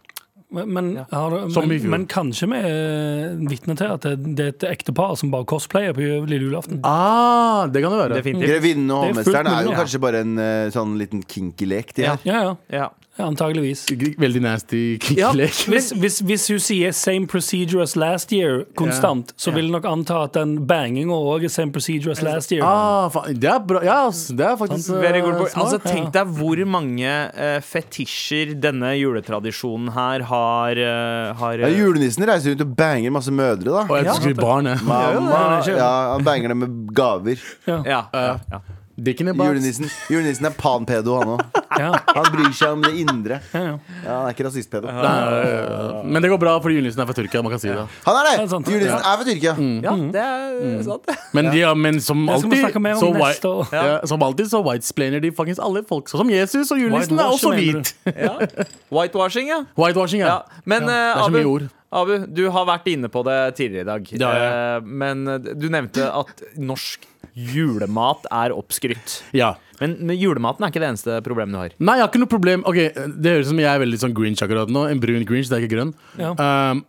Speaker 2: Men, men, har du-
Speaker 5: Som i
Speaker 2: men,
Speaker 5: fjor.
Speaker 2: men kanskje vi er vitne til at det, det er et ektepar som bare cosplayer på ju- lille julaften.
Speaker 5: Ah, det kan det være.
Speaker 4: Definitivt.
Speaker 3: Grevinnen og
Speaker 2: Det er fullt
Speaker 3: hovmesteren er jo
Speaker 2: mulig, ja.
Speaker 3: kanskje bare en eh, sånn liten kinky lek. De
Speaker 4: Ja.
Speaker 3: her.
Speaker 2: Ja, ja.
Speaker 4: Ja.
Speaker 2: Antageligvis.
Speaker 5: G- Veldig nasty kikkelek.
Speaker 2: Hvis, hvis, hvis hun sier 'same procedure as last year' konstant, så vil jeg nok anta at den banginga òg er 'same procedure as last year'.
Speaker 5: Ah, faen, det er bra. Ja, ass, det er faktisk
Speaker 4: Very good
Speaker 5: eh,
Speaker 4: point.
Speaker 5: smart.
Speaker 4: Altså, tenk deg hvor mange eh, fetisjer denne juletradisjonen her har, eh, har
Speaker 3: Ja, julenissen reiser rundt og banger masse mødre, da.
Speaker 5: Og jeg skulle bli barn, jeg.
Speaker 3: Mamma,
Speaker 2: det er ikke-
Speaker 3: ja, han banger dem med gaver.
Speaker 4: ja,
Speaker 5: Eh.
Speaker 4: ja, ja.
Speaker 5: Dikken i boks.
Speaker 3: Julenissen, julenissen er panpedo, han òg.
Speaker 2: Ja.
Speaker 3: Han bryr seg om det indre.
Speaker 2: Ja, ja.
Speaker 3: Ja, han er ikke rasistpedo.
Speaker 5: Nei, Men det går bra, fordi julenissen er fra Tyrkia. Man kan si det.
Speaker 3: Han er det!
Speaker 2: Det er sant.
Speaker 3: Julenissen er fra Tyrkia.
Speaker 4: ja, det er
Speaker 5: Mm.
Speaker 4: sant.
Speaker 5: Men, de, ja, men som
Speaker 2: Det skal vi
Speaker 5: alltid
Speaker 2: snakke mer om
Speaker 5: så
Speaker 2: neste
Speaker 5: white,
Speaker 2: år.
Speaker 5: ja. som alltid så whitesplainer de faktisk alle folk. Sånn som Jesus og julenissen er også
Speaker 2: Whitewashing, mener
Speaker 5: hvit.
Speaker 4: Ja. Whitewashing, ja.
Speaker 5: Whitewashing, ja.
Speaker 4: ja. Men eh,
Speaker 5: Det er så mye
Speaker 4: Abu,
Speaker 5: ord.
Speaker 4: Abu, du har vært inne på det tidligere i dag.
Speaker 5: Det har jeg.
Speaker 4: Eh, men du nevnte at norsk julemat er oppskrytt.
Speaker 5: ja.
Speaker 4: Men, men julematen er ikke det eneste problemet du har.
Speaker 5: Nei, jeg har ikke noe problem Ok, Det høres ut som jeg er veldig sånn grinch akkurat nå. En brun grinch, det er ikke grønn. Um,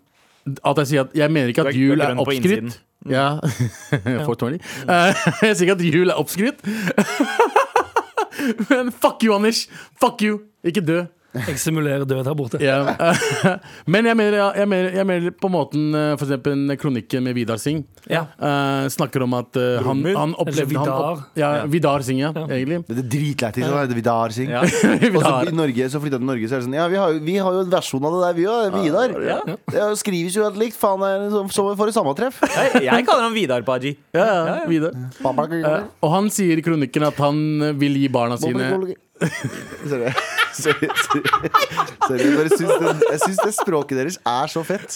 Speaker 5: at jeg sier at Jeg mener
Speaker 4: Du
Speaker 5: ikke at
Speaker 4: er- du er
Speaker 5: jul er
Speaker 4: grønn på
Speaker 5: oppskrytt. Mm.
Speaker 4: innsiden. Mm.
Speaker 5: Ja. 420. Uh, jeg sier ikke at jul er oppskrytt. Men fuck you, Anders! Fuck you! Ikke dø.
Speaker 2: Jeg simulerer død her borte.
Speaker 5: Ja. Men jeg mener, jeg, mener, jeg mener på måten eh, For eksempel kronikken med Vidar Singh.
Speaker 4: Ja.
Speaker 5: Eh, snakker om at eh, han,
Speaker 4: Brumund,
Speaker 5: han
Speaker 2: eller
Speaker 5: opplevde han opp,
Speaker 2: Vidar.
Speaker 5: ja, Vidar Singh, ja, egentlig.
Speaker 3: Det er dritlættis. Han heter Vidar Singh.
Speaker 4: Ja.
Speaker 3: Og så
Speaker 5: Vidar.
Speaker 3: i Norge, så flytta han til Norge, så er det sånn Ja, vi har, jo- vi har jo en versjon av det der, vi òg. Vidar. Det er jo- skrives jo helt likt. Faen, det er liksom, som- som for et sammentreff.
Speaker 4: Jeg, jeg kaller ham Vidar Paji.
Speaker 5: Ja, ja, Vidar. Eh, og han sier i kronikken at han eh, vil gi barna sine
Speaker 3: Sorry. Sorry, sorry. Sorry, jeg bare syns det, jeg syns det språket deres er så fett.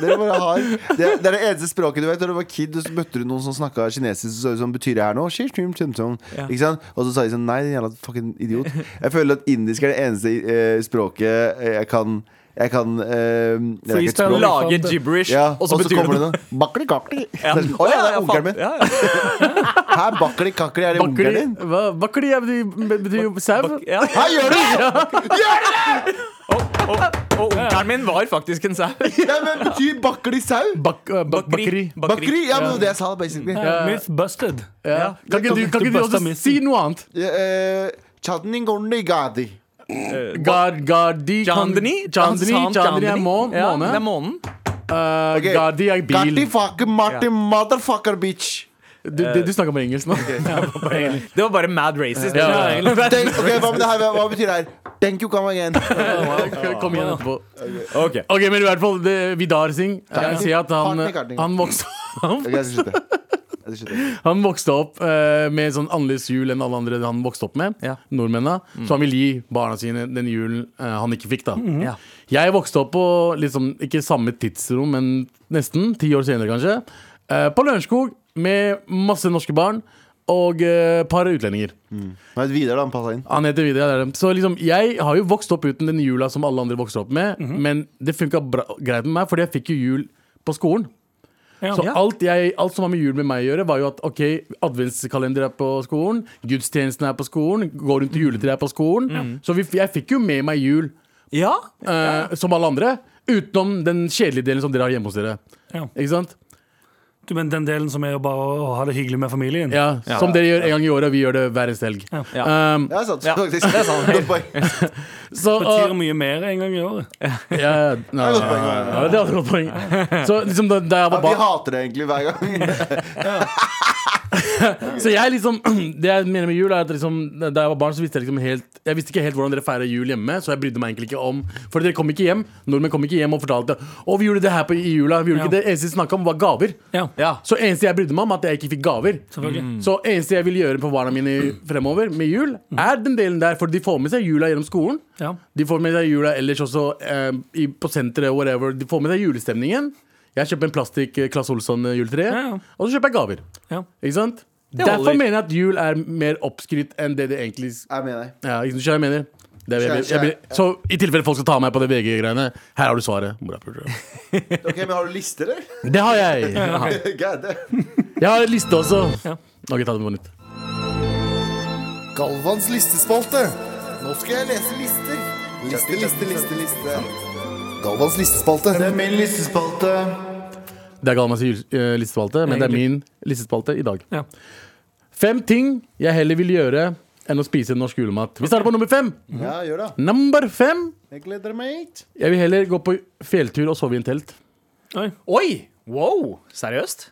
Speaker 3: Dere bare har Det, det er det eneste språket du vet. Da du var kid, og så møtte du noen som snakka kinesisk, så, som betyr det her nå. Shi, shim, shim, shim. Ikke sant? Og så sa de sånn Nei, din jævla fucking idiot. Jeg føler at indisk er det eneste eh, språket jeg kan Jeg kan eh, det er ikke et
Speaker 2: Freestyle.
Speaker 3: språk.
Speaker 4: Lager gibberish,
Speaker 3: Ja,
Speaker 4: og så betyr
Speaker 3: kommer
Speaker 4: det
Speaker 3: det
Speaker 4: noe.
Speaker 3: noe. Bakli kakli. Å ja,
Speaker 4: Ja.
Speaker 3: det er
Speaker 4: faen.
Speaker 3: onkelen min.
Speaker 4: Ja, ja.
Speaker 3: Hæ, bakli kakli, er det onkelen
Speaker 5: Bakli
Speaker 3: din?
Speaker 5: hva- bakli er- betyr betyr jo sau.
Speaker 4: Ja.
Speaker 3: Hæ, gjør du?
Speaker 4: Og, og onkelen min var faktisk en sau.
Speaker 3: Ja, men betyr bakli sau?
Speaker 5: Bak, eh, bak, bakri.
Speaker 4: Bakeri. Bakeri.
Speaker 3: Bakri, ja, men det var det jeg sa, basically.
Speaker 2: Myth busted.
Speaker 5: Ja. Kan ikke du, kan ikke du også si noe annet?
Speaker 3: Eh, Chadni Gorni Gadi.
Speaker 5: Gar, gardi kan-
Speaker 4: Chandni.
Speaker 5: Chandni,
Speaker 4: Sant,
Speaker 5: Chandni er må-
Speaker 4: Ja, det
Speaker 5: måne.
Speaker 4: er månen.
Speaker 5: Eh,
Speaker 3: Ok.
Speaker 5: Gardi er
Speaker 3: Gatti
Speaker 5: bil.
Speaker 3: fucking Martin,
Speaker 4: Ja.
Speaker 3: motherfucker bitch.
Speaker 5: Du, du, du snakker på engelsk nå.
Speaker 4: Det var bare mad racist.
Speaker 5: Ja, ja, ja.
Speaker 3: Thank- ok, hva, med det her, hva betyr det her? Thank you, come again.
Speaker 5: Kom igjen etterpå.
Speaker 4: Ok.
Speaker 5: Ok, men i hvert fall det, Vidar Singh. Jeg ser at han,
Speaker 3: Partner Gardner.
Speaker 5: han vokste
Speaker 3: Ok, jeg skal slutte. Jeg skal slutte.
Speaker 5: Han vokste opp eh, med sånn annerledes jul enn alle andre han vokste opp med.
Speaker 4: Ja.
Speaker 5: Nordmennene. Så han vil gi barna sine den julen eh, han ikke fikk, da.
Speaker 4: Ja.
Speaker 5: Jeg vokste opp på liksom, ikke samme tidsrom, men nesten. Ti år senere, kanskje. eh, på Lørenskog med masse norske barn og et par utlendinger.
Speaker 3: Nei, Vidar, da. Han passa inn.
Speaker 5: Han heter Vidar. det er det. Så liksom, jeg har jo vokst opp uten den jula som alle andre vokste opp med,
Speaker 2: Mhm.
Speaker 5: men det funka bra- greit med meg, fordi jeg fikk jo jul på skolen.
Speaker 2: Ja.
Speaker 5: Så
Speaker 2: Ja.
Speaker 5: alt, jeg, alt som har med jul med meg å gjøre, var jo at ok, adventskalender er på skolen, gudstjenesten er på skolen, går rundt i
Speaker 2: Mhm.
Speaker 5: juletreet er på skolen. Så vi, jeg fikk jo med meg jul,
Speaker 4: Ja?
Speaker 5: eh, som alle andre, utenom den kjedelige delen som dere har hjemme hos dere.
Speaker 2: Ja.
Speaker 5: Ikke sant?
Speaker 2: Du mener den delen som er å bare å ha det hyggelig med familien?
Speaker 5: Ja,
Speaker 4: Ja.
Speaker 5: Som dere gjør en gang i året, vi gjør det hver eneste helg.
Speaker 2: Ja.
Speaker 4: Ja.
Speaker 5: Um,
Speaker 3: Ja, det er sant,
Speaker 4: Ja,
Speaker 3: faktisk. Det er sant. Godt poeng. Det
Speaker 5: så,
Speaker 2: Det
Speaker 5: uh,
Speaker 2: betyr mye mer en gang i året.
Speaker 5: ja, nei,
Speaker 3: er godt poeng. ja, ja.
Speaker 5: Ja, det er et godt poeng. Så liksom da, da jeg
Speaker 3: Ja,
Speaker 5: var
Speaker 3: vi
Speaker 5: barn
Speaker 3: hater det egentlig hver gang.
Speaker 5: Så jeg liksom Det jeg mener med jul, er at liksom da jeg var barn, så visste jeg liksom helt Jeg visste ikke helt hvordan dere feirer jul hjemme, så jeg brydde meg egentlig ikke om For dere kom ikke hjem. Nordmenn kom ikke hjem og fortalte Å, vi gjorde det her på, i jula. Vi gjorde ikke
Speaker 2: Ja.
Speaker 5: det eneste vi snakka om, var gaver.
Speaker 2: Ja,
Speaker 4: Ja.
Speaker 5: Så eneste jeg brydde meg om, at jeg ikke fikk gaver.
Speaker 2: selvfølgelig.
Speaker 5: Så eneste jeg vil gjøre på barna mine fremover med jul, er den delen der. For de får med seg jula gjennom skolen.
Speaker 2: Ja.
Speaker 5: De får med seg jula ellers også eh, i, på senteret, whatever. De får med seg julestemningen. Jeg kjøper en plastikk eh, Claes Olsson-juletre,
Speaker 2: Ja, ja.
Speaker 5: og så kjøper jeg gaver.
Speaker 2: Ja.
Speaker 5: Ikke sant?
Speaker 4: Det holder.
Speaker 5: Derfor mener jeg at jul er mer oppskrytt enn det det egentlig
Speaker 3: Jeg mener deg.
Speaker 5: Ja, ikke sant, skjønner jeg mener? Det er, jeg, jeg,
Speaker 3: Skjønner, skjønner.
Speaker 5: blir- så i tilfelle folk skal ta meg på det VG-greiene, her har du svaret. morapulere.
Speaker 3: Ok, men har du lister, eller?
Speaker 5: Det har jeg!
Speaker 3: God damn.
Speaker 5: Jeg har en liste også.
Speaker 2: Ja.
Speaker 5: Ok, ta det på nytt.
Speaker 3: Galvans listespalte. Nå skal jeg lese lister. Liste, liste, liste, liste. Galvans listespalte. Det er min listespalte.
Speaker 5: Det er Galmas jul- eh, listespalte, men det er
Speaker 2: Egentlig.
Speaker 5: min listespalte i dag.
Speaker 2: Ja.
Speaker 5: Fem ting jeg heller vil gjøre enn å spise norsk julemat. Vi starter på nummer fem.
Speaker 3: Ja, gjør det.
Speaker 5: Number fem.
Speaker 3: Jeg gleder meg.
Speaker 5: Jeg vil heller gå på fjelltur og sove i en telt.
Speaker 2: Oi.
Speaker 4: Oi! Wow! Seriøst?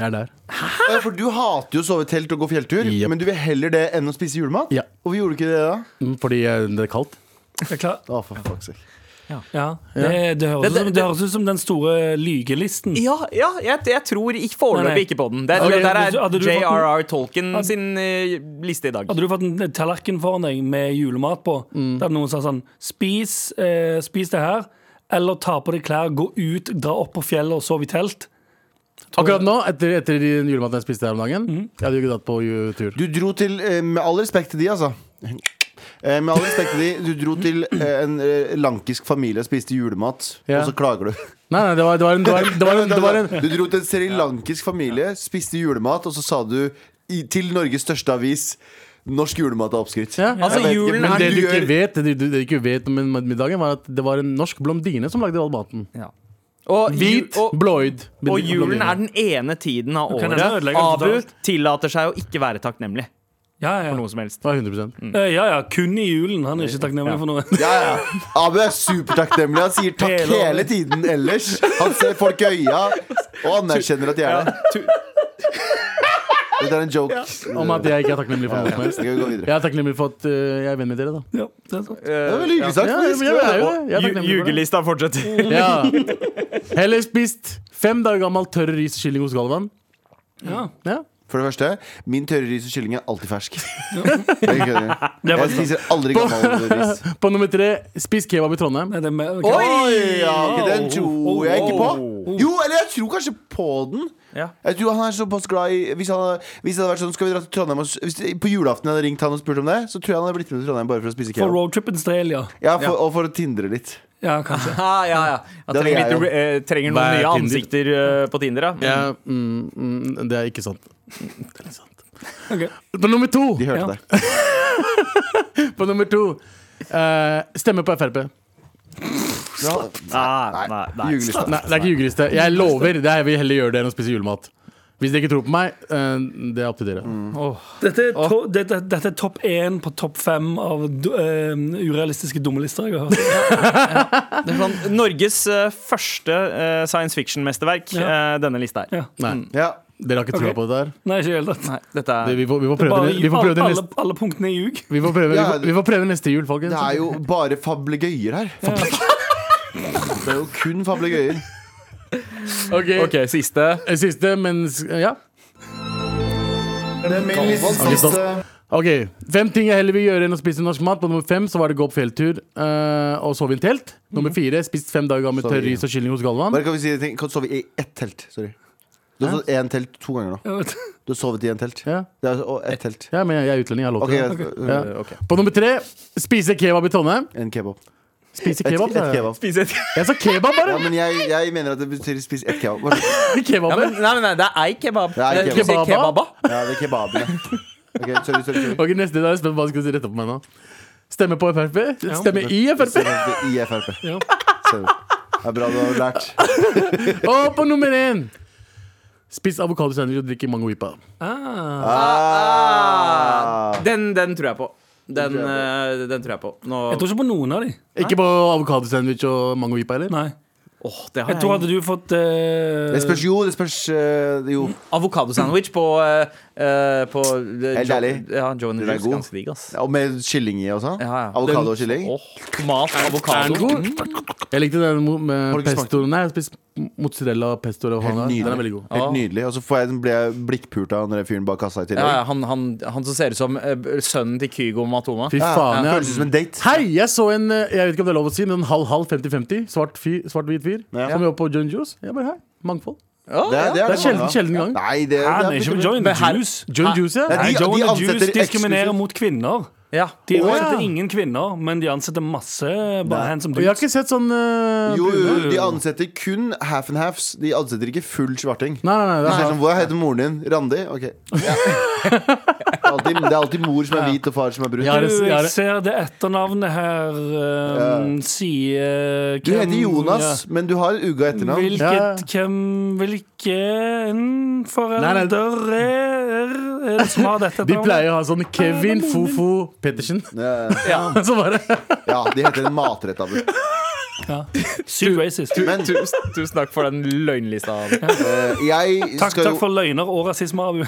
Speaker 5: Jeg er der.
Speaker 3: Ja, for du hater jo å sove i telt og gå fjelltur,
Speaker 5: Jep.
Speaker 3: men du vil heller det enn å spise julemat?
Speaker 5: Ja.
Speaker 3: Hvorfor gjorde du ikke det da?
Speaker 5: Mm, Fordi eh, det er kaldt.
Speaker 2: Det er klart.
Speaker 3: Å, for fuck's sake.
Speaker 2: Ja. Det, det, høres
Speaker 4: Det-
Speaker 2: ut som,
Speaker 4: det-
Speaker 2: det høres ut som den store lygelisten.
Speaker 4: Ja, ja jeg, jeg tror ikke
Speaker 2: Nei, nei.
Speaker 4: foreløpig ikke på den. Det,
Speaker 2: Ok,
Speaker 4: det der
Speaker 2: hvis- hadde
Speaker 4: er
Speaker 2: du fått den-
Speaker 4: J.R.R. Tolkien sin eh, liste i dag.
Speaker 2: Hadde du fått en tallerken foran deg med julemat på, der noen sa sånn Spis, eh, spis det her, eller ta på deg klær, gå ut, dra opp på fjellet og sove i telt.
Speaker 5: Akkurat nå, etter, etter den julematen jeg spiste her om dagen, jeg hadde jo ikke dratt på ju- tur.
Speaker 3: Du dro til, eh, med all respekt til de, altså. Eh, Med all respekt til de, du dro til eh, en eh, lankisk familie og spiste julemat,
Speaker 5: Ja.
Speaker 3: og så klager du.
Speaker 5: Nei, nei, det var, det var en Det var en, det var en, det var en
Speaker 3: Du dro til en srilankisk familie, spiste julemat, og så sa du i, til Norges største avis Norsk julemat er oppskrytt.
Speaker 5: ja.
Speaker 4: Altså,
Speaker 3: Jeg vet
Speaker 4: julen
Speaker 5: Men
Speaker 4: er
Speaker 5: det du ikke
Speaker 3: gjør-
Speaker 5: vet, det du, det du ikke vet om middagen, var at det var en norsk blondine som lagde all maten.
Speaker 4: Ja. Og, ju-
Speaker 5: Hvit,
Speaker 4: og,
Speaker 5: blåøyd.
Speaker 4: og julen er den ene tiden av
Speaker 2: kan nesten
Speaker 4: året
Speaker 2: ødelegge det
Speaker 4: Abu
Speaker 2: totalt.
Speaker 4: tillater seg å ikke være takknemlig
Speaker 2: Ja, ja.
Speaker 4: for noe som helst.
Speaker 5: Ja, 100
Speaker 2: Eh, ja, ja. Kun i julen. Han er ikke takknemlig for noe.
Speaker 3: Ja, ja. Abu er supertakknemlig. Han sier takk
Speaker 2: Hele
Speaker 3: hele,
Speaker 2: året.
Speaker 3: tiden ellers. Han ser folk i øya og anerkjenner at de er der.
Speaker 4: Tu-
Speaker 3: Dette er en joke.
Speaker 5: Om at jeg ikke er takknemlig for
Speaker 3: Ja,
Speaker 5: noe som
Speaker 3: ja.
Speaker 5: helst.
Speaker 3: Skal vi gå videre?
Speaker 5: Jeg er takknemlig for at eh, jeg er venn med dere, da.
Speaker 2: Ja, det er sant.
Speaker 3: Det var veldig hyggelig sagt.
Speaker 5: Ja, men jeg er jo det. Jeg er
Speaker 4: eh, Ju-
Speaker 5: takknemlig for det.
Speaker 4: Jugelista
Speaker 2: Mm.
Speaker 4: fortsetter.
Speaker 5: Ja. Heller spist fem dager gammel tørr ris kylling hos Galvan.
Speaker 2: Ja.
Speaker 5: Ja.
Speaker 3: For det første, min tørre ris og kylling er alltid fersk. Jeg kødder. Jeg spiser aldri gammel ris.
Speaker 5: På nummer tre, spis kebab i Trondheim.
Speaker 2: Nei, det er mer, ok.
Speaker 3: Oi, ja, ok, den tror jeg ikke på. Jo, eller jeg tror kanskje på den.
Speaker 4: Ja.
Speaker 3: Jeg tror han er såpass glad i Hvis, han, hvis det hadde vært sånn, skal vi dra til Trondheim og, s- hvis, det- På julaften jeg hadde ringt han og spurt om det, så tror jeg han hadde blitt med til Trondheim bare for å spise
Speaker 2: For
Speaker 3: kebab.
Speaker 2: roadtrip Australia.
Speaker 3: Ja, for, og for å tindre litt.
Speaker 2: Ja, kanskje.
Speaker 4: Ja, ja, ja. Jeg
Speaker 3: Det
Speaker 4: trenger,
Speaker 3: er jeg
Speaker 4: litt,
Speaker 3: jo.
Speaker 4: eh, trenger
Speaker 5: Hva
Speaker 4: noen
Speaker 5: er
Speaker 4: nye
Speaker 5: Tinder?
Speaker 4: ansikter eh, på Tinder, da.
Speaker 5: Ja, mm, mm, det er ikke sant. Det er ikke sant.
Speaker 2: Ok.
Speaker 5: På nummer to,
Speaker 3: De hørte
Speaker 2: Ja.
Speaker 3: det.
Speaker 5: på nummer to eh, stemme på Frp.
Speaker 4: Nei, Ah, nei, nei.
Speaker 3: Jugeliste.
Speaker 5: Nei, det er ikke jugeliste. Jeg lover. det er Jeg vil heller gjøre det enn å spise julemat. Hvis dere ikke tror på meg, eh, det er opp til dere.
Speaker 4: Mm.
Speaker 2: Dette er, to, dette, dette er topp én på topp fem av du- eh, urealistiske dumme lister jeg har hørt.
Speaker 4: Det er sånn, Norges eh, første eh, science fiction-mesterverk,
Speaker 2: Ja.
Speaker 4: eh, denne lista her.
Speaker 2: Ja.
Speaker 5: Nei.
Speaker 3: Ja.
Speaker 5: Dere har ikke trua
Speaker 2: Ok.
Speaker 5: på dette her?
Speaker 2: Nei, ikke i det hele tatt.
Speaker 4: Nei, dette
Speaker 5: Det,
Speaker 4: er
Speaker 5: vi, får, vi, får prøve
Speaker 2: Bare,
Speaker 5: det, vi får prøve det
Speaker 2: alle,
Speaker 5: neste
Speaker 2: alle punktene er ljug.
Speaker 5: vi får prøve, vi
Speaker 3: Ja,
Speaker 5: får, vi får prøve neste jul, folkens.
Speaker 3: Det er jo bare fablegøyer her. Det er jo kun fablegøyer.
Speaker 5: Ok, Eh,
Speaker 4: OK, siste.
Speaker 5: Siste, men s- Ja.
Speaker 3: Siste-
Speaker 5: Ok, Fem ting jeg heller vil gjøre enn å spise norsk mat. På nummer fem så var det gå på fjelltur eh, og sove i en telt. Nummer fire spist fem dager med
Speaker 3: Sorry.
Speaker 5: tørr ris og kylling hos Galvan.
Speaker 3: Bare kan vi si en ting? Kan du sove i ett telt? Sorry. Du har sovet i én telt to ganger nå. Du har sovet i én telt.
Speaker 5: Ja.
Speaker 3: Det er, altså- og ett telt.
Speaker 5: ja, men jeg er utlending. Jeg har lov
Speaker 3: Ok,
Speaker 5: til det. Ja. På nummer tre spise kebab i Trondheim.
Speaker 3: En kebab.
Speaker 5: Spise
Speaker 3: Et,
Speaker 5: kebab, sa
Speaker 3: et
Speaker 5: jeg.
Speaker 3: kebab.
Speaker 4: Spise et
Speaker 5: Jeg sa kebab,
Speaker 3: Ja,
Speaker 5: bare!
Speaker 3: men jeg, jeg mener at det betyr spis ett kebab. Bare-
Speaker 5: Kebaben.
Speaker 4: Ja, men, nei, nei, nei, det er ei kebab.
Speaker 3: Det er ei
Speaker 4: Du sier
Speaker 5: kebab.
Speaker 4: kebaba.
Speaker 3: Ja, det er kebabene. Ok, sorry, sorry. sorry.
Speaker 5: Ok, neste da er jeg spent på hva du skal si rett opp meg nå. Stemme på Frp? Stemme i Frp?
Speaker 3: I Frp.
Speaker 2: Ja.
Speaker 3: Sorry. Det er bra du har lært.
Speaker 5: Og på nummer én! Spis avokadosandwich og drikk mango ipa.
Speaker 2: Ah.
Speaker 3: Ah.
Speaker 4: Den, den tror jeg på. Den, eh, den tror jeg på. Nå
Speaker 2: Jeg tror ikke på noen av de.
Speaker 5: Ikke på avokadosandwich og mango ipa, eller?
Speaker 2: Nei.
Speaker 4: Åh, det har
Speaker 2: Jeg tror
Speaker 4: jeg.
Speaker 2: hadde du fått eh,
Speaker 3: Det spørs jo, det spørs eh, Jo.
Speaker 4: Avokadosandwich på, eh, eh, på eh,
Speaker 3: Helt
Speaker 4: Jo-
Speaker 3: ærlig.
Speaker 4: Ja, Joe and
Speaker 3: Den
Speaker 4: the
Speaker 3: er
Speaker 4: Juice.
Speaker 3: god.
Speaker 4: Ganske digg, ass.
Speaker 3: Og med kylling i og sånn?
Speaker 4: Ja, ja.
Speaker 3: Avokado og
Speaker 4: Den-
Speaker 3: kylling?
Speaker 4: Åh, mat,
Speaker 5: Er den
Speaker 4: avokado.
Speaker 5: god? Jeg likte den
Speaker 3: Har du
Speaker 5: mo- med
Speaker 3: ikke
Speaker 5: pesto. Nei, jeg har spist mozzarella pesto. og
Speaker 3: Helt
Speaker 5: hånda. Den er veldig
Speaker 3: nydelig.
Speaker 5: god.
Speaker 3: Helt nydelig. Og så får jeg, ble jeg blikkpult av den der fyren bak kassa i
Speaker 4: Ja, ja,
Speaker 3: tillegg.
Speaker 4: han, han, han som ser ut som eh, sønnen til Kygo Matoma.
Speaker 5: Fy
Speaker 3: Ja,
Speaker 5: faen,
Speaker 3: Føles
Speaker 5: ja.
Speaker 3: som en date.
Speaker 5: Hei, jeg så en eh, jeg vet ikke om det er lov å si, men en halv-halv, 50-50, svart-hvit fyr, svart, hvit fyr
Speaker 3: Ja.
Speaker 5: som jobber på John Juice. Jeg bare, hei, Mangfold.
Speaker 4: Ja,
Speaker 3: Det,
Speaker 5: Det er sjelden,
Speaker 3: mange av.
Speaker 5: sjelden gang.
Speaker 3: Nei,
Speaker 2: Hæ,
Speaker 3: det, det
Speaker 2: den er ikke
Speaker 3: er
Speaker 2: på Join the Juice.
Speaker 5: John Juice, ja.
Speaker 3: Nei,
Speaker 2: Nei,
Speaker 3: de-
Speaker 2: Joe
Speaker 3: de
Speaker 2: and the Juice
Speaker 3: ansetter
Speaker 2: diskriminerer
Speaker 3: eksklusivt.
Speaker 2: mot kvinner.
Speaker 4: ja.
Speaker 2: De
Speaker 5: Å, ja.
Speaker 2: ansetter ingen kvinner, men de ansetter masse bare handsome
Speaker 5: Og jeg har
Speaker 2: dudes.
Speaker 5: ikke sett sånn eh,
Speaker 3: Jo,
Speaker 5: brune.
Speaker 3: jo, de ansetter kun half and halves. De ansetter ikke full svarting.
Speaker 5: Nei, nei, nei,
Speaker 3: Det
Speaker 5: det
Speaker 3: er
Speaker 5: er
Speaker 3: sånn, Hva heter moren din? Randi? Ok. Ja. Det, er alltid, det er alltid mor som er hvit, og far som er brun.
Speaker 5: Ja, det-
Speaker 2: Du,
Speaker 5: jeg har-
Speaker 2: jeg ser det etternavnet her um, sier eh,
Speaker 3: Du heter
Speaker 2: hvem-
Speaker 3: Jonas, men du har uga
Speaker 2: Ja.
Speaker 3: etternavn.
Speaker 2: Hvilket
Speaker 5: Ja.
Speaker 2: Hvem Hvilken
Speaker 5: Nei, nei.
Speaker 2: forelder er, er det som har dette
Speaker 5: De pleier å ha sånn Kevin Fofo Pettersen.
Speaker 3: Ja,
Speaker 5: Så bare
Speaker 3: Ja, de heter en matrett av det.
Speaker 2: Sykt racist.
Speaker 3: Men
Speaker 4: Tusen, tusen takk for den løgnlista.
Speaker 3: eh, jeg
Speaker 2: Takk,
Speaker 3: skal
Speaker 2: takk
Speaker 3: jo
Speaker 2: for løgner og rasisme, Abu.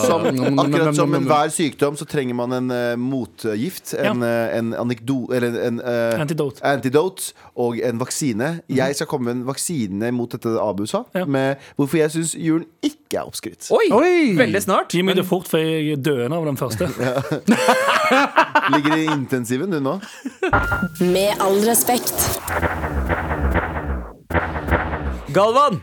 Speaker 3: som, Akkurat som
Speaker 5: hver
Speaker 3: enhver sykdom så trenger man en eh, motgift. En, eh, en anekdo... Eller en, eh,
Speaker 2: Antidote. Mhm.
Speaker 3: Antidote og en vaksine. Jeg skal komme med en vaksine mot dette Abu sa.
Speaker 2: Ja.
Speaker 3: Med hvorfor jeg syns julen ikke er oppskrytt.
Speaker 4: Oi!
Speaker 5: Oi!
Speaker 4: Veldig snart.
Speaker 2: Gi meg det fort, for jeg er døende av den første.
Speaker 3: Ligger i intensiven, du nå?
Speaker 6: Med all respekt.
Speaker 4: Galvan,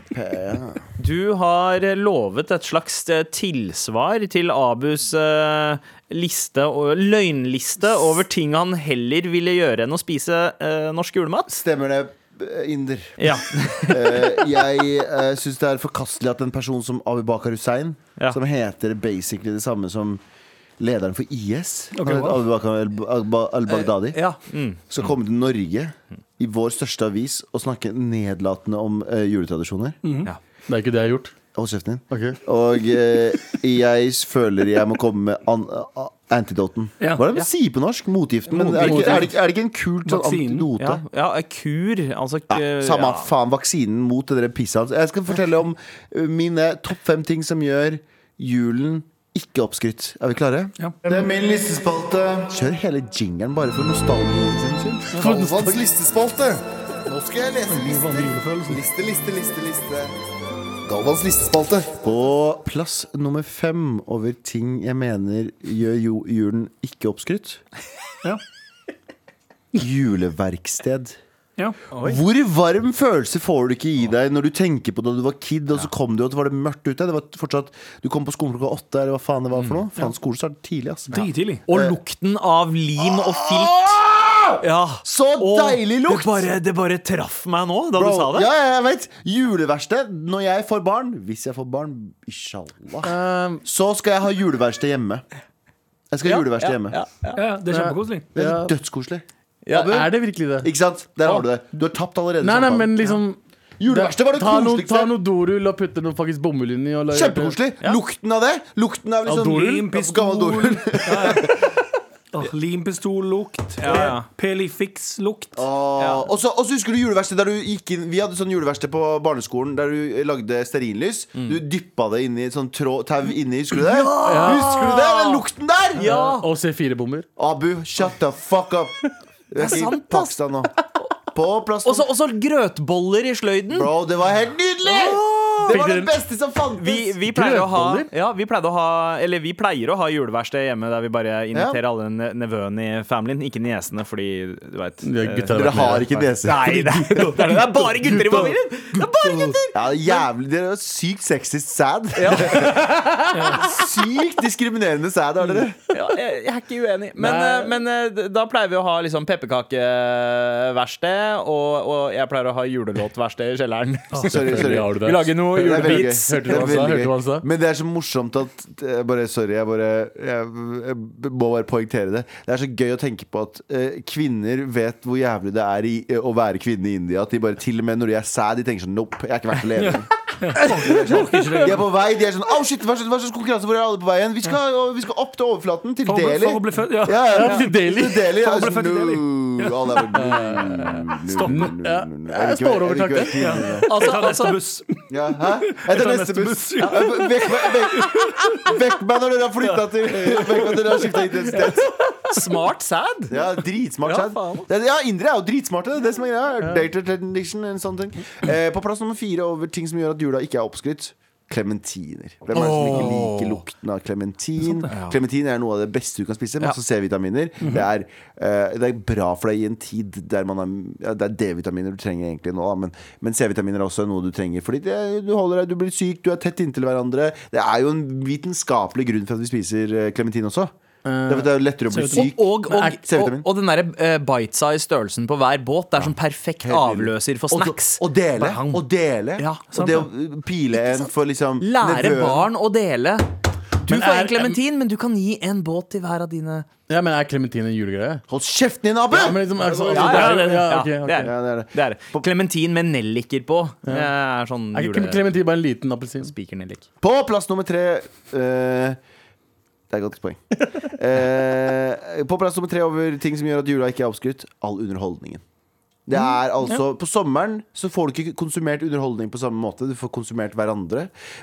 Speaker 4: du har lovet et slags eh, tilsvar til Abus eh, liste og, løgnliste over ting han heller ville gjøre enn å spise eh, norsk julemat.
Speaker 3: Stemmer det, eh, inder?
Speaker 4: Ja.
Speaker 3: Eh, jeg uh, syns det er forkastelig at en person som Abu Bakar Hussein,
Speaker 4: Ja.
Speaker 3: som heter basically det samme som lederen for IS,
Speaker 2: Ok,
Speaker 3: han heter
Speaker 2: wow. Eh,
Speaker 3: Abu Bakar al- al- al-Baghdadi,
Speaker 4: ja. Mm.
Speaker 3: skal komme til Norge i vår største avis og snakke nedlatende om eh, juletradisjoner.
Speaker 2: Mm.
Speaker 5: Det er ikke det jeg har gjort.
Speaker 3: Hold kjeften din. Og eh, jeg føler jeg må komme med an a- antidoten.
Speaker 2: Ja.
Speaker 3: Hva er det man sier på norsk? Motgiften. Men er det ikke, er det ikke, er det ikke en kult sånn
Speaker 2: Vaksinen.
Speaker 3: antidote?
Speaker 4: Ja, ja, eh, kur. Altså
Speaker 3: Ja,
Speaker 4: eh,
Speaker 3: samme
Speaker 4: ja.
Speaker 3: faen vaksinen mot det der pisset hans. Jeg skal fortelle om uh, mine topp fem ting som gjør julen ikke oppskrytt. Er vi klare?
Speaker 2: Ja.
Speaker 3: Det er min listespalte. Kjør hele jingeren bare for nostalgien sin skyld. Galvans listespalte. Nå skal jeg lese lister. Liste, liste, liste, liste. Galvans listespalte. På plass nummer fem over ting jeg mener gjør jo julen ikke oppskrytt.
Speaker 2: Ja.
Speaker 3: Juleverksted.
Speaker 2: Ja.
Speaker 3: Hvor varm følelse får du ikke i deg når du tenker på da du var kid, og så kom du, og så var det mørkt ute? Det var fortsatt, Du kom på skolen klokka åtte, eller hva faen det var for
Speaker 4: Mm.
Speaker 3: noe? Faen, skolen starter tidlig, ass.
Speaker 2: Dritidlig.
Speaker 4: Og lukten av lim og filt. Ja.
Speaker 3: Ah! Så
Speaker 4: Åh,
Speaker 3: deilig lukt!
Speaker 4: Det bare, det bare traff meg nå da
Speaker 3: Bro,
Speaker 4: du sa det.
Speaker 3: Ja, ja, jeg vet. Juleverksted når jeg får barn. Hvis jeg får barn, inshallah.
Speaker 5: Ehm,
Speaker 3: Så skal jeg ha juleverksted hjemme. Jeg skal ha juleverksted hjemme.
Speaker 4: Ja, ja.
Speaker 2: Ja, det er kjempekoselig.
Speaker 3: Det er dødskoselig.
Speaker 4: Ja,
Speaker 3: Abu,
Speaker 5: er det virkelig det?
Speaker 3: ikke sant? Der har du det. Du har tapt allerede.
Speaker 5: Nei, nei,
Speaker 3: samtalen.
Speaker 5: men liksom
Speaker 3: Juleverksted var det
Speaker 5: ta noe,
Speaker 3: koseligste.
Speaker 5: ta noe dorull og putte noe faktisk bomull inni. og la-
Speaker 3: Kjempekoselig. Lukten av det. Lukten av liksom
Speaker 5: dorull?
Speaker 3: Gammel dorull.
Speaker 2: Åh, Limpistollukt.
Speaker 4: Ja, ja.
Speaker 2: Pelifix-lukt.
Speaker 3: Åh,
Speaker 4: Ja.
Speaker 3: Og så og så husker du juleverkstedet der du gikk inn Vi hadde sånn juleverksted på barneskolen der du eh, lagde stearinlys.
Speaker 4: Mm.
Speaker 3: Du dyppa det inni sånn trå, tau inni, husker du det? Husker du det? Den lukten der!
Speaker 5: Og C4-bomber.
Speaker 3: Abu, shut the fuck up. Du er ikke i Pakistan nå. På plass
Speaker 4: Og så og så grøtboller i sløyden.
Speaker 3: Bro, det var helt nydelig! Det var
Speaker 5: Fikk
Speaker 3: det
Speaker 5: dere-
Speaker 3: beste som fantes!
Speaker 4: Vi, vi pleier å ha
Speaker 5: Grøtboller?
Speaker 4: Ja, vi pleide å ha Eller vi pleier å ha juleverksted hjemme der vi bare inviterer alle ne- nevøene i familien, ikke niesene, fordi du veit
Speaker 5: De gutta
Speaker 3: Dere har ikke nese.
Speaker 4: Nei, det er, det er, det er bare gutter i familien! Det er bare gutter!
Speaker 3: Ja, jævlig, Dere er sykt sexist sad. sykt diskriminerende sad har dere.
Speaker 4: Ja, jeg, jeg er ikke uenig. Men,
Speaker 5: Nei.
Speaker 4: eh, men eh, da pleier vi å ha liksom pepperkakeverksted, og, og jeg pleier å ha julelåtverksted i kjelleren.
Speaker 3: Sorry, sorry.
Speaker 5: har du
Speaker 4: Vi
Speaker 5: det.
Speaker 4: lager noe
Speaker 3: Det er veldig
Speaker 4: julebeats.
Speaker 3: gøy.
Speaker 5: Hørte du
Speaker 3: Det
Speaker 5: hva han
Speaker 3: er
Speaker 5: sa?
Speaker 3: veldig
Speaker 5: Hørte du hva han sa?
Speaker 3: gøy. Men det er så morsomt at jeg bare, Sorry, jeg bare jeg, jeg må bare poengtere det. Det er så gøy å tenke på at eh, kvinner vet hvor jævlig det er i, å være kvinne i India. At de bare til og med når de er sæd, de tenker sånn Nope, jeg er ikke verdt å leve med. De er på vei. De er sånn Au, shit, hva slags, hva slags konkurranse? Hvor er alle på veien? Vi skal, vi skal opp til overflaten, til
Speaker 2: For å bli-
Speaker 3: Delhi.
Speaker 2: for å bli født, ja.
Speaker 3: Ja, ja.
Speaker 5: Til Delhi.
Speaker 3: Til Delhi.
Speaker 2: For å
Speaker 3: Jeg er
Speaker 2: bli født i Delhi.
Speaker 3: sånn, «No». Alle er bare
Speaker 2: Stopp.
Speaker 5: Ja. Jeg står over takten.
Speaker 2: Jeg tar neste buss.
Speaker 3: Ja, hæ? Etter
Speaker 2: tar
Speaker 3: neste
Speaker 2: neste
Speaker 3: buss.
Speaker 2: buss, ja.
Speaker 3: Ja, Vekk meg, vekk, vekk meg når dere har flytta til Vekk meg når dere har skifta identitet.
Speaker 4: Smart sad.
Speaker 3: Ja, dritsmart
Speaker 4: Ja,
Speaker 3: Chad.
Speaker 4: faen.
Speaker 3: Det- Ja, indere er jo dritsmarte. Det er det som er greia. Data tradition and something. Eh, på plass nummer fire over ting som gjør at jula ikke er oppskrytt. Klementiner. Hvem er det som ikke liker lukten av
Speaker 4: Sånn,
Speaker 3: klementin? Klementin er noe av det beste du kan spise. Masse C-vitaminer.
Speaker 4: Mhm.
Speaker 3: Det, er, eh, det er bra for deg i en tid der man er ja, Det er D-vitaminer du trenger egentlig nå, da, men, men C-vitaminer er også noe du trenger. Fordi det, du holder deg, du blir syk, du er tett inntil hverandre. Det er jo en vitenskapelig grunn for at vi spiser eh, klementin også.
Speaker 4: Eh,
Speaker 3: Det er for at det er jo lettere å bli syk.
Speaker 4: Og,
Speaker 3: Men er-
Speaker 4: og, og, og,
Speaker 3: C-vitamin.
Speaker 4: den derre eh, bite-size størrelsen på hver båt. Det er sånn perfekt avløser for
Speaker 3: Og så-
Speaker 4: snacks.
Speaker 3: Og dele.
Speaker 4: Bare hang.
Speaker 3: Og dele.
Speaker 4: Ja,
Speaker 3: og
Speaker 4: sant
Speaker 3: det
Speaker 4: det.
Speaker 3: å eh, pile en for liksom
Speaker 4: Lære
Speaker 3: nevøen.
Speaker 4: barn å dele. Du
Speaker 5: Men
Speaker 4: får
Speaker 5: er-
Speaker 4: en klementin, men du kan gi en båt til hver av dine.
Speaker 5: Ja, men er klementin en julegreie?
Speaker 3: Hold kjeften din, abu!
Speaker 5: Ja, men liksom, er det så,
Speaker 4: Ja, ja, det er det.
Speaker 5: Ja,
Speaker 4: Ja,
Speaker 5: ok, ok.
Speaker 4: det er
Speaker 3: Ja, det er det.
Speaker 4: Det er det. Klementin med nelliker på. Det er sånn
Speaker 5: Er ikke klementin bare en liten appelsin?
Speaker 4: julespikernellik.
Speaker 3: På plass nummer tre eh, Det er et godt poeng. Eh, på plass nummer tre over ting som gjør at jula ikke er oppskrytt, all underholdningen. Det
Speaker 4: Mm,
Speaker 3: er altså, På sommeren så får du ikke konsumert underholdning på samme måte. Du får konsumert hverandre.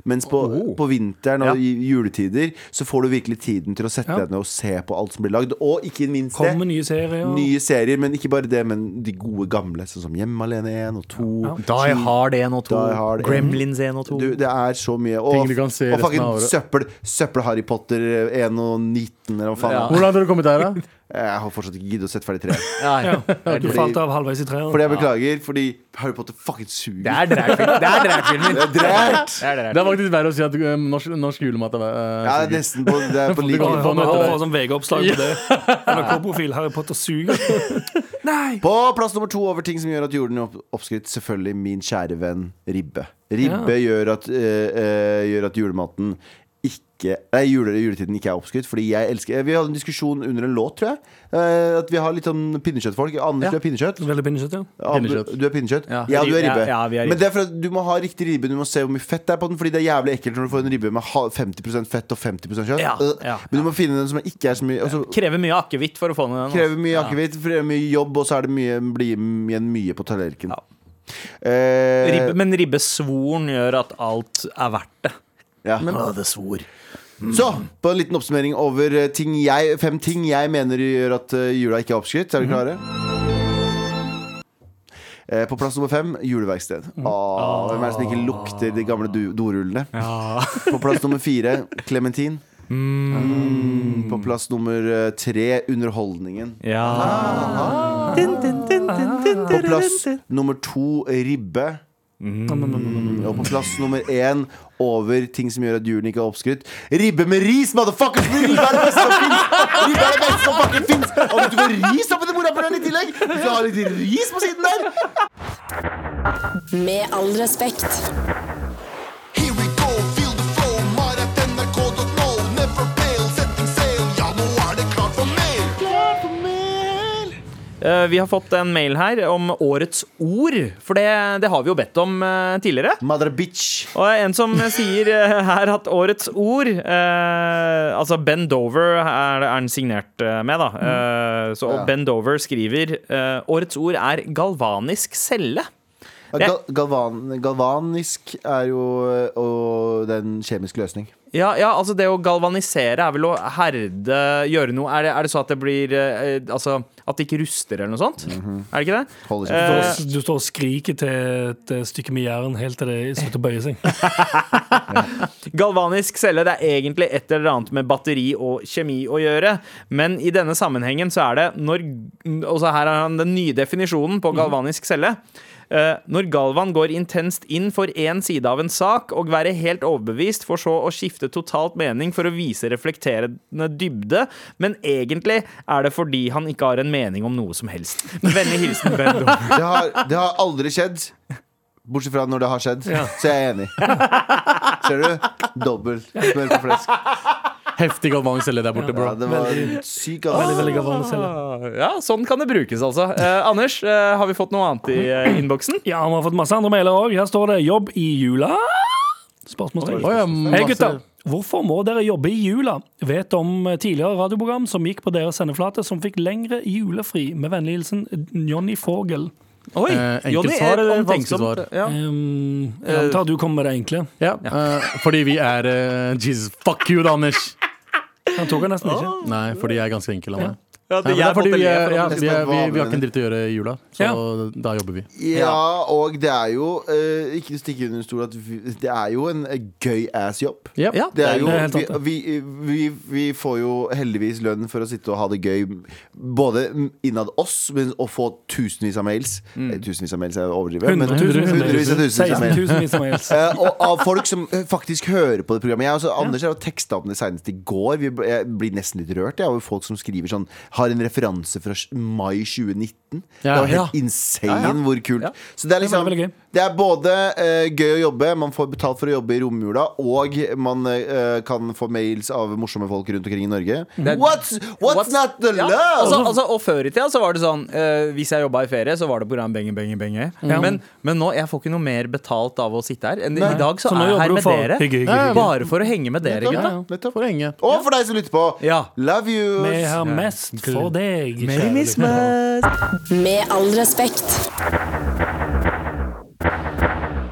Speaker 3: Mens på,
Speaker 4: Oh.
Speaker 3: på vinteren og i juletider så får du virkelig tiden til å sette
Speaker 2: Ja.
Speaker 3: deg ned og se på alt som blir lagd. Og ikke minst det
Speaker 2: Kom med nye serier.
Speaker 3: Nye serier, men ikke bare det, men de gode gamle. Sånn som Hjemme alene 1 og 2.
Speaker 4: Die Hard 1 og 2.
Speaker 3: Die Hard 1.
Speaker 4: Gremlins 1 og 2.
Speaker 3: Du, det er så mye. Og,
Speaker 5: Ting du kan se
Speaker 3: og
Speaker 5: resten av
Speaker 3: fucking
Speaker 5: året.
Speaker 3: søppel, søppel Harry Potter 1 og 19, eller hva faen.
Speaker 4: Ja.
Speaker 5: Hvor langt har du kommet der, da?
Speaker 3: Jeg har fortsatt ikke giddet å sette ferdig 3.
Speaker 4: Ja, ja.
Speaker 2: Du falt av halvveis i treet.
Speaker 3: Fordi jeg beklager, fordi Harry Potter fucking suger.
Speaker 4: Det er dragfilm. Det er dragfilmen.
Speaker 3: Det er drært!
Speaker 4: Det er drag.
Speaker 5: Det er faktisk verre å si at eh, norsk, norsk julemat er eh,
Speaker 3: Ja, det er nesten på, det er på lik
Speaker 5: Det går
Speaker 2: Ja,
Speaker 5: Hva
Speaker 2: vi
Speaker 5: møter
Speaker 2: har
Speaker 5: deg?
Speaker 2: bare sånn VG-oppslag på det. NRK-profil Harry Potter suger.
Speaker 3: På plass nummer to over ting som gjør at jorden er opp- oppskrytt, selvfølgelig min kjære venn ribbe. Ribbe gjør, at, eh, eh, gjør at julematen ikke Nei, jule, juletiden ikke er oppskrytt, fordi jeg elsker eh, Vi hadde en diskusjon under en låt, tror jeg. eh, at vi har litt sånn pinnekjøttfolk. Anders, du er pinnekjøtt.
Speaker 2: Veldig pinnekjøtt, ja.
Speaker 3: Abu,
Speaker 5: Pinnekjøtt.
Speaker 3: Du er pinnekjøtt? Ja,
Speaker 4: Ja.
Speaker 3: du er ribbe.
Speaker 4: Ja, ja, vi er
Speaker 3: Men
Speaker 4: ribbe.
Speaker 3: det er for at du må ha riktig ribbe, du må se hvor mye fett det er på den. Fordi det er jævlig ekkelt når du får en ribbe med ha- 50 fett og 50 kjøtt.
Speaker 4: Ja,
Speaker 3: Øh.
Speaker 4: ja.
Speaker 3: Men du må finne den som ikke er så mye altså,
Speaker 4: Krever mye akevitt for å få ned den. altså.
Speaker 3: Krever mye akevitt, for det er mye jobb, og så er det mye, blir igjen mye på tallerkenen. Eh,
Speaker 4: Ribbe, men ribbesvoren gjør at alt er verdt det.
Speaker 3: ja.
Speaker 4: Å, det svor.
Speaker 3: Så, på en liten oppsummering over eh, ting jeg, fem ting jeg mener gjør at eh, jula ikke er oppskrytt. Er dere klare? Eh, På plass nummer fem juleverksted. Åh, hvem er det som ikke lukter de gamle du- dorullene? På plass nummer fire klementin. Mm. På plass nummer eh, tre underholdningen.
Speaker 4: Ja.
Speaker 3: På plass nummer to ribbe. Mm. Og på plass nummer én over ting som gjør at julen ikke er oppskrytt. Ribbe med ris, motherfuckers! Ribbe er det beste som fins! Ribbe er det beste som fucking fins! Og hvis du får ris oppi den morapuleren i tillegg, du skal ha litt ris på siden der!
Speaker 6: Med all respekt.
Speaker 7: Here we go, feel the flow, mar at nrk.no. Never fail, setting sail, ja nå er det klart for mer.
Speaker 4: Eh, Vi har fått en mail her om årets ord, for det, det har vi jo bedt om eh, tidligere.
Speaker 3: Mother bitch.
Speaker 4: Og en som sier eh, her at årets ord eh, Altså Ben Dover er, er den signert eh, med, da. Eh, så
Speaker 3: Ja.
Speaker 4: Ben Dover skriver eh, årets ord er galvanisk celle.
Speaker 3: Gal galvan galvanisk er jo eh, og det er en kjemisk løsning.
Speaker 4: Ja, ja, altså det å galvanisere er vel å herde, gjøre noe Er det, er det så at det blir eh, Altså at det ikke ruster eller noe sånt? Er det ikke det?
Speaker 3: Holder
Speaker 2: Du
Speaker 3: ikke.
Speaker 2: står- Du står og skriker til et eh, stykke med jern helt til det slutter å bøye seg.
Speaker 4: Galvanisk celle det er egentlig et eller annet med batteri og kjemi å gjøre. Men i denne sammenhengen så er det når Og så her har han den nye definisjonen på galvanisk celle. Eh, når Galvan går intenst inn for én side av en sak og være helt overbevist, for så å skifte totalt mening for å vise reflekterende dybde, men egentlig er det fordi han ikke har en mening om noe som helst. Med Vennlig hilsen Ben Dover.
Speaker 3: Det har, det har aldri skjedd. Bortsett fra når det har skjedd, så jeg er enig. Ser du? Dobbelt smør på flesk.
Speaker 5: Heftig galvanisk celle der borte,
Speaker 3: Ja,
Speaker 5: bro.
Speaker 3: det var sykt
Speaker 2: Veldig,
Speaker 3: altså.
Speaker 2: veldig gammel celle.
Speaker 4: Ja, sånn kan det brukes, altså. Eh, Anders, eh, har vi fått noe annet i eh, innboksen?
Speaker 2: Ja, vi har fått masse andre mailer òg. Her står det 'jobb i jula'. Spørsmålstegn.
Speaker 5: Å ja,
Speaker 2: Hei
Speaker 5: masse-
Speaker 2: gutter, hvorfor må dere jobbe i jula? Vet om eh, tidligere radioprogram som gikk på deres sendeflate, som fikk lengre julefri. Med vennlig hilsen Johnny Fogel.
Speaker 4: Oi,
Speaker 5: Eh, enkelt
Speaker 4: Jonny
Speaker 5: svar
Speaker 4: er
Speaker 5: eller
Speaker 4: omtenksom.
Speaker 5: vanskelig
Speaker 4: Ja.
Speaker 2: Um, jeg antar du kommer med det enkle.
Speaker 5: Ja, eh, fordi vi er eh, Jesus, fuck you, da, Anders.
Speaker 2: Han tok det nesten ikke.
Speaker 5: Nei, fordi jeg er ganske enkel av meg.
Speaker 4: Ja,
Speaker 5: Nei, men det er fordi vi, er, ja,
Speaker 3: at
Speaker 5: vi, er, vi, vi har ikke
Speaker 3: vanlig.
Speaker 5: en dritt å gjøre i jula, så da jobber vi.
Speaker 3: Ja, og det er jo eh, Ikke stikke under stol at vi, det er jo en eh, gøy ass jobb.
Speaker 5: Yep.
Speaker 4: Ja.
Speaker 3: Det er jo,
Speaker 2: Det er helt
Speaker 3: vi,
Speaker 2: sant,
Speaker 3: vi, vi, vi får jo heldigvis lønn for å sitte og ha det gøy, både innad oss, men å få tusenvis av mails.
Speaker 2: Mm.
Speaker 3: Eh, Tusenvis av mails er å overdrive. men-
Speaker 2: Hundretusenvis av mails.
Speaker 3: Hundrevis av tusenvis av mails.
Speaker 2: 16.000 av mails.
Speaker 3: Eh, og av folk som eh, faktisk hører på det programmet. Jeg, altså, Anders har jo teksta om det senest i går. Vi, ble- jeg blir nesten litt rørt jeg, over folk som skriver sånn Har en referanse fra sj- mai 2019. det
Speaker 5: Ja.
Speaker 3: var helt insane hvor kult. Så det er liksom
Speaker 2: veldig, veldig gøy.
Speaker 3: Det er både eh, gøy å jobbe, man får betalt for å jobbe i romjula, og man eh, kan få mails av morsomme folk rundt omkring i Norge. What's, what's, not the
Speaker 4: Ja,
Speaker 3: love? Sånn,
Speaker 4: altså, altså, og før i tida så var det sånn eh, Hvis jeg jobba i ferie, så var det pga. benge, benge, benge. Men, men nå, jeg får ikke noe mer betalt av å sitte her. Enn I dag så,
Speaker 2: Så nå
Speaker 4: er jeg
Speaker 2: jobber
Speaker 4: her
Speaker 2: du
Speaker 4: med
Speaker 2: for
Speaker 4: dere.
Speaker 2: hygge, hygge,
Speaker 5: hygge.
Speaker 4: Bare for å henge med dere,
Speaker 5: Ja,
Speaker 4: gutta.
Speaker 5: ja.
Speaker 3: sånn, Nettopp.
Speaker 5: For lenge.
Speaker 3: og for deg som lytter på,
Speaker 4: Ja.
Speaker 3: love you!
Speaker 2: Vi har mest for deg.
Speaker 4: Merry
Speaker 2: kjære.
Speaker 4: Christmas.
Speaker 6: Med all respekt.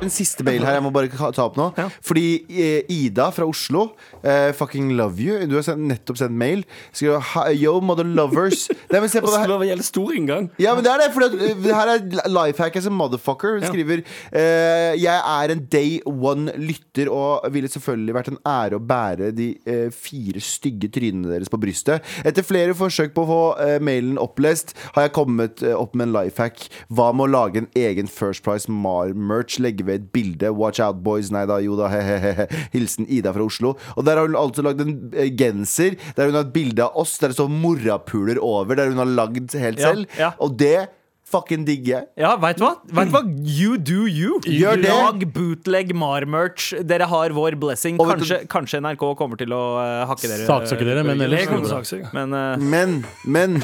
Speaker 3: En siste mail her, jeg må bare ka- ta opp nå. Fordi eh, Ida fra Oslo, eh, fucking love you. Du har sendt, nettopp sendt mail. Skriver "Hi- Yo, mother lovers. Nei, men se på det her.
Speaker 2: Oslo var veldig stor inngang.
Speaker 3: Ja, men det er det, for det, det her er lifehack as a motherfucker. Hun skriver eh, Jeg er en day one-lytter og ville selvfølgelig vært en ære å bære de eh, fire stygge trynene deres på brystet. Etter flere forsøk på å få eh, mailen opplest, har jeg kommet eh, opp med en lifehack. Hva med å lage en egen First Price Mar-merch? Legge ved et bilde. Watch out, boys. Nei da, jo da, he-he-he. Hilsen Ida fra Oslo. Og der har hun altså lagd en eh, genser der hun har et bilde av oss, der det står morapuler over, der hun har lagd helt
Speaker 4: Ja,
Speaker 3: selv.
Speaker 4: ja.
Speaker 3: Og det fucking digger jeg.
Speaker 4: Ja, veit du hva? Vet du hva? You do you.
Speaker 3: Gjør det.
Speaker 4: Lag bootleg Mar-merch. Dere har vår blessing.
Speaker 3: Og vet du-
Speaker 4: Kanskje, kanskje NRK kommer til å eh, hakke dere.
Speaker 5: Saksøker dere, men
Speaker 2: Det
Speaker 5: ellers
Speaker 2: kommer
Speaker 5: går det bra.
Speaker 2: saksøker.
Speaker 4: Men eh,
Speaker 3: Men, men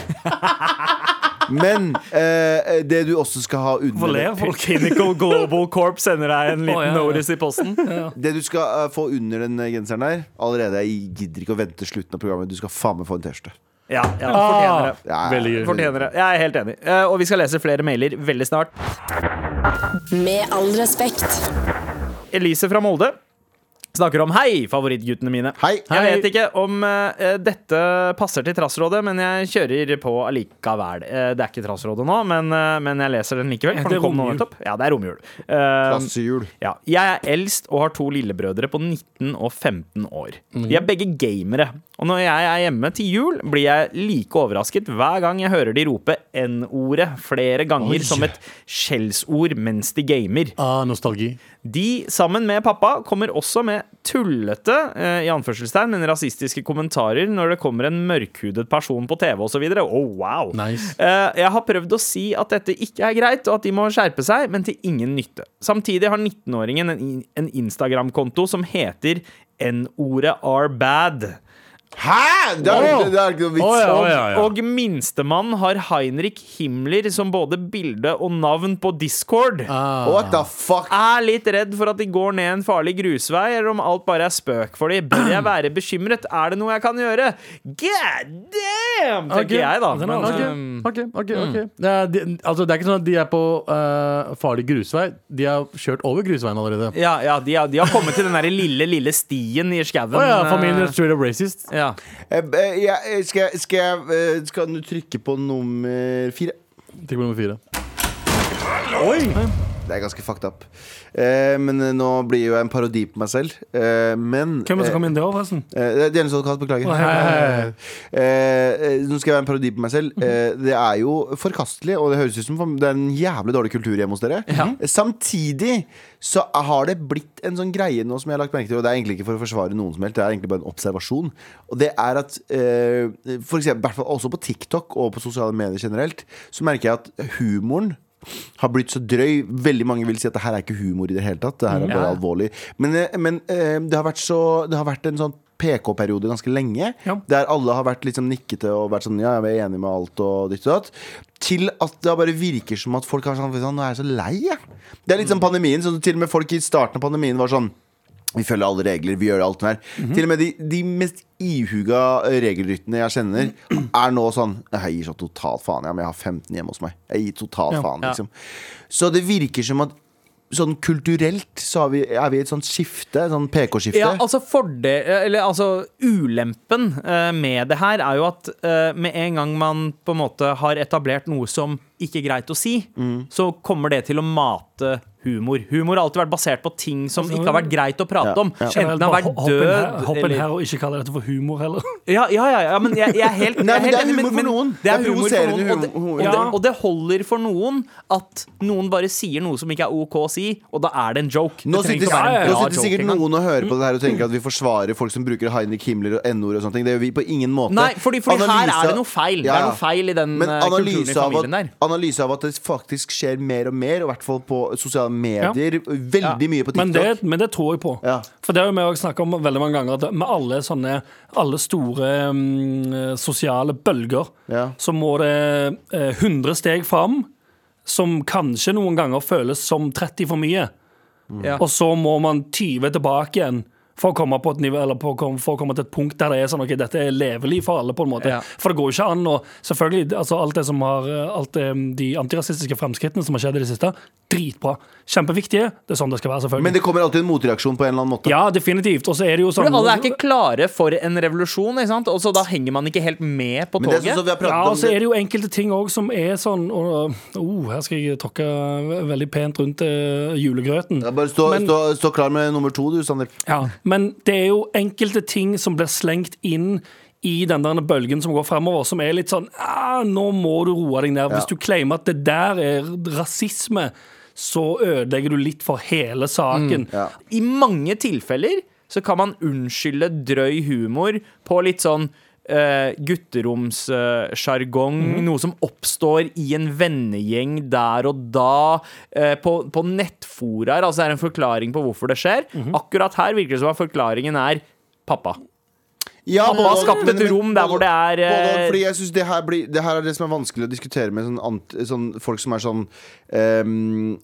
Speaker 3: Men eh, det du også skal ha
Speaker 2: Hvorfor
Speaker 3: under
Speaker 2: ler folk?
Speaker 4: Pinnacle Global Corp sender deg en liten
Speaker 2: Å, ja, ja.
Speaker 4: notice i posten.
Speaker 3: Det du skal eh, få under den genseren der Allerede, jeg gidder ikke å vente til slutten av programmet. Du skal faen meg få en T-skjorte.
Speaker 4: Ja, ja, fortjener det.
Speaker 3: Ja,
Speaker 5: Veldig gøy.
Speaker 4: Fortjener det. Jeg er helt enig. Eh, Og vi skal lese flere mailer veldig snart.
Speaker 6: Med all respekt.
Speaker 4: Elise fra Molde snakker om Hei, favorittguttene mine.
Speaker 3: Hei.
Speaker 4: Jeg
Speaker 5: Hei.
Speaker 4: vet ikke om eh, dette passer til Trassrådet, men jeg kjører på allikevel. Eh, det er ikke Trassrådet nå, men, eh, men jeg leser den likevel. For
Speaker 2: Det er
Speaker 4: den kom nå
Speaker 2: romjul.
Speaker 4: nettopp. Ja, det er romjul. Eh,
Speaker 3: Trassejul.
Speaker 4: ja. Jeg er eldst og har to lillebrødre på 19 og 15 år. De er begge gamere. Og når jeg er hjemme til jul, blir jeg like overrasket hver gang jeg hører de rope N-ordet flere ganger som et skjellsord mens de gamer.
Speaker 5: Ah, nostalgi.
Speaker 4: De, sammen med pappa, kommer også med tullete eh, i anførselstegn, men rasistiske kommentarer når det kommer en mørkhudet person på TV osv. Oh, wow.
Speaker 5: Nice.
Speaker 4: Eh, jeg har prøvd å si at dette ikke er greit, og at de må skjerpe seg, men til ingen nytte. Samtidig har 19-åringen en, in- en Instagram-konto som heter N-ordet are E bad.
Speaker 3: Hæ?! Det er
Speaker 5: Wow.
Speaker 3: det er ikke noe vits.
Speaker 5: Å ja, å ja, ja.
Speaker 4: Og minstemann har Heinrich Himmler som både bilde og navn på Discord.
Speaker 5: Ah,
Speaker 3: What the fuck?
Speaker 4: Er litt redd for at de går ned en farlig grusvei, eller om alt bare er spøk for de. Bør jeg være bekymret? Er det noe jeg kan gjøre? God damn! Tenker
Speaker 5: Ok.
Speaker 4: jeg, da.
Speaker 2: Den er
Speaker 4: Men,
Speaker 2: altså- mm.
Speaker 4: um,
Speaker 5: Ok, ok, ok det, er, de, altså, det er ikke sånn at de er på eh, farlig grusvei. De har kjørt over grusveien allerede. Å
Speaker 4: ja, ja de, har- de har kommet til den der lille, lille stien i skauen.
Speaker 5: ja,
Speaker 4: eh,
Speaker 5: familien er straight up racist.
Speaker 4: ja.
Speaker 3: Eh, eh, jeg- Skal jeg- skal jeg eh, Skal du trykke på nummer fire?
Speaker 5: Trykk på nummer fire.
Speaker 3: Det er ganske fucked up. Eh, men eh, nå blir jo jeg en parodi på meg selv. Eh, men
Speaker 2: Hvem er det
Speaker 3: eh,
Speaker 2: som kom inn der, forresten?
Speaker 3: Eh, det er Djevelens advokat, beklager. Eh, eh, nå skal jeg være en parodi på meg selv. Eh, det er jo forkastelig, og det høres ut som det er en jævlig dårlig kultur hjemme hos dere. Samtidig så har det blitt en sånn greie nå som jeg har lagt merke til, og det er egentlig ikke for å forsvare noen som helst, det er egentlig bare en observasjon. Og det er at eh, for eksempel, i hvert fall også på TikTok og på sosiale medier generelt, så merker jeg at humoren har blitt så drøy. Veldig mange vil si at det her er ikke humor i det hele tatt. Det her er bare alvorlig. Men, eh, men eh, det, har vært så, det har vært en sånn PK-periode ganske lenge,
Speaker 2: Ja.
Speaker 3: der alle har vært liksom nikkete og vært sånn ja, jeg er enig med alt og ditt og datt. Til at det bare virker som at folk har sånn "Fy faen, Nå er jeg så lei, jeg. Det er litt sånn pandemien. Så til og med folk i starten av pandemien var sånn vi følger alle regler, vi gjør alt det der. Til og med de, de mest ihuga regelryttene jeg kjenner, er nå sånn Jeg gir så totalt faen. Ja, men jeg har 15 hjemme hos meg. Jeg gir totalt faen, liksom. Så det virker som at sånn kulturelt så har vi, er vi i et sånt skifte, et sånn sånt PK-skifte.
Speaker 4: Ja, altså fordel, eller altså ulempen eh, med det her er jo at eh, med en gang man på en måte har etablert noe som ikke er greit å si,
Speaker 3: Mm.
Speaker 4: så kommer det til å mate humor. Humor har alltid vært basert på ting som ikke har vært greit å prate om. Enten har vært
Speaker 2: Altså, Hopp inn
Speaker 4: død
Speaker 2: her- Hopp inn
Speaker 4: eller-
Speaker 2: her og ikke kalle dette for humor heller.
Speaker 4: ja, ja, ja, ja, men jeg, jeg er helt,
Speaker 3: Nei, men
Speaker 4: jeg
Speaker 3: det er
Speaker 4: helt enig,
Speaker 3: humor for noen.
Speaker 4: Det er
Speaker 3: Det er
Speaker 4: humor for
Speaker 3: provoserende
Speaker 4: noen, og det,
Speaker 3: humor-
Speaker 4: og, det,
Speaker 2: Ja.
Speaker 4: og det holder for noen at noen bare sier noe som ikke er OK å si, og da er det en joke.
Speaker 3: Nå sitter,
Speaker 4: det trenger ikke å være
Speaker 3: nå
Speaker 4: en bra
Speaker 3: sitter
Speaker 4: joke
Speaker 3: sikkert
Speaker 4: engang.
Speaker 3: noen og hører på det her og tenker at vi forsvarer folk som bruker Heinrich Himmler og N-ord og sånne ting. Det gjør vi på ingen måte.
Speaker 4: Nei, fordi- fordi her
Speaker 3: Analyse-
Speaker 4: er det noe feil. Det er noe feil i den,
Speaker 3: Men
Speaker 4: eh, kulturen i
Speaker 3: analyse av at-
Speaker 4: familien der.
Speaker 3: Analyse av at det faktisk skjer mer og mer, og i hvert fall på sosiale medier. Veldig mye på TikTok.
Speaker 2: Men det, men det tror jeg på.
Speaker 3: Ja.
Speaker 2: For det har jo vi også snakket om veldig mange ganger. At med alle sånne Alle store mm, sosiale bølger,
Speaker 3: Ja.
Speaker 2: så må det eh, 100 steg fram, som kanskje noen ganger føles som 30 for mye.
Speaker 3: Mm.
Speaker 4: Ja.
Speaker 2: Og så må man tyve tilbake igjen. For å, komme på et nivå, eller på, å kom- for å komme til et punkt der det er sånn, ok, dette er levelig for alle. på en måte
Speaker 4: Ja.
Speaker 2: For det går jo ikke an å Selvfølgelig, altså alt det som har eh, Alt det, de antirasistiske fremskrittene som har skjedd i det siste, dritbra. Kjempeviktige. Det er sånn det skal være, selvfølgelig.
Speaker 3: Men det kommer alltid en motreaksjon på en eller annen måte.
Speaker 2: Ja, definitivt. Og så er det jo sånn
Speaker 4: Fordi alle er ikke klare for en revolusjon, ikke sant? og så da henger man ikke helt med på
Speaker 3: Men det er sånn
Speaker 4: toget. altså,
Speaker 3: som vi har
Speaker 2: ja,
Speaker 3: pratet
Speaker 2: og så er
Speaker 3: om
Speaker 2: det jo enkelte ting òg som er sånn og, oh, Her skal jeg tråkke ve- veldig pent rundt eh, julegrøten.
Speaker 3: ja, Bare stå,
Speaker 2: Men-
Speaker 3: stå, stå klar med nummer to, du, Sander.
Speaker 2: Ja, men det er jo enkelte ting som blir slengt inn i den der bølgen som går fremover, som er litt sånn ah, Nå må du roe deg ned. Hvis du claimer at det der er rasisme, så ødelegger du litt for hele saken.
Speaker 3: Mm,
Speaker 4: I mange tilfeller så kan man unnskylde drøy humor på litt sånn uh, gutteromssjargong.
Speaker 3: Mhm.
Speaker 4: Noe som oppstår i en vennegjeng der og da. eh, på, på nettforaer. Altså det er en forklaring på hvorfor det skjer.
Speaker 3: Mhm.
Speaker 4: Akkurat her virker det som at forklaringen er pappa.
Speaker 3: Ja,
Speaker 4: Pappa har skapt et rom der hvor det er,
Speaker 3: både-
Speaker 4: eh,
Speaker 3: Fordi jeg synes det her, blir, det her er det som er vanskelig å diskutere med sånn, ant, sånn folk som er sånn ehm,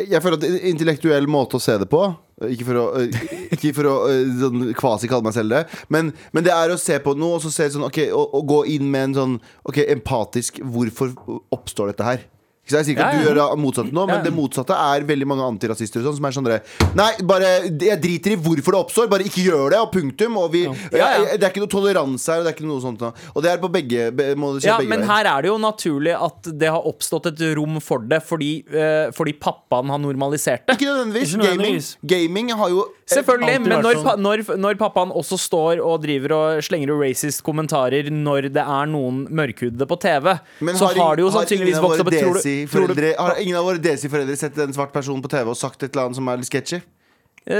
Speaker 3: Jeg føler at en intellektuell måte å se det på ikke for å, eh, ikke for å eh, sånn, kvasi kalle meg selv det, men, men det er å se på noe og så se sånn, ok, å, å gå inn med en sånn ok, empatisk Hvorfor oppstår dette her? Ikke sant? Jeg sier ikke at du gjør det motsatte nå, men det motsatte er veldig mange antirasister og sånn, som er sånn dere Nei, bare, jeg driter i hvorfor det oppstår, bare ikke gjør det, og punktum. Og vi, Jeg, jeg, det er ikke noe toleranse her, og det er ikke noe sånt. nå. Og det er på begge be- må det skje
Speaker 4: Ja,
Speaker 3: begge
Speaker 4: men
Speaker 3: veier.
Speaker 4: her er det jo naturlig at det har oppstått et rom for det, fordi, eh, fordi pappaen har normalisert det.
Speaker 3: Ikke nødvendigvis.
Speaker 2: Ikke nødvendigvis.
Speaker 3: Gaming, gaming har jo
Speaker 4: Selvfølgelig,
Speaker 5: alltid
Speaker 4: men
Speaker 5: vært
Speaker 4: når,
Speaker 5: sånn.
Speaker 4: pa- når, når pappaen også står og driver og slenger ut racist kommentarer når det er noen mørkhudede på TV,
Speaker 3: Men
Speaker 4: så har det jo sannsynligvis vokst opp et- tror du- tror du-
Speaker 3: Har ingen av våre desi-foreldre sett en svart person på TV og sagt et eller annet som er litt sketchy?
Speaker 4: Eh,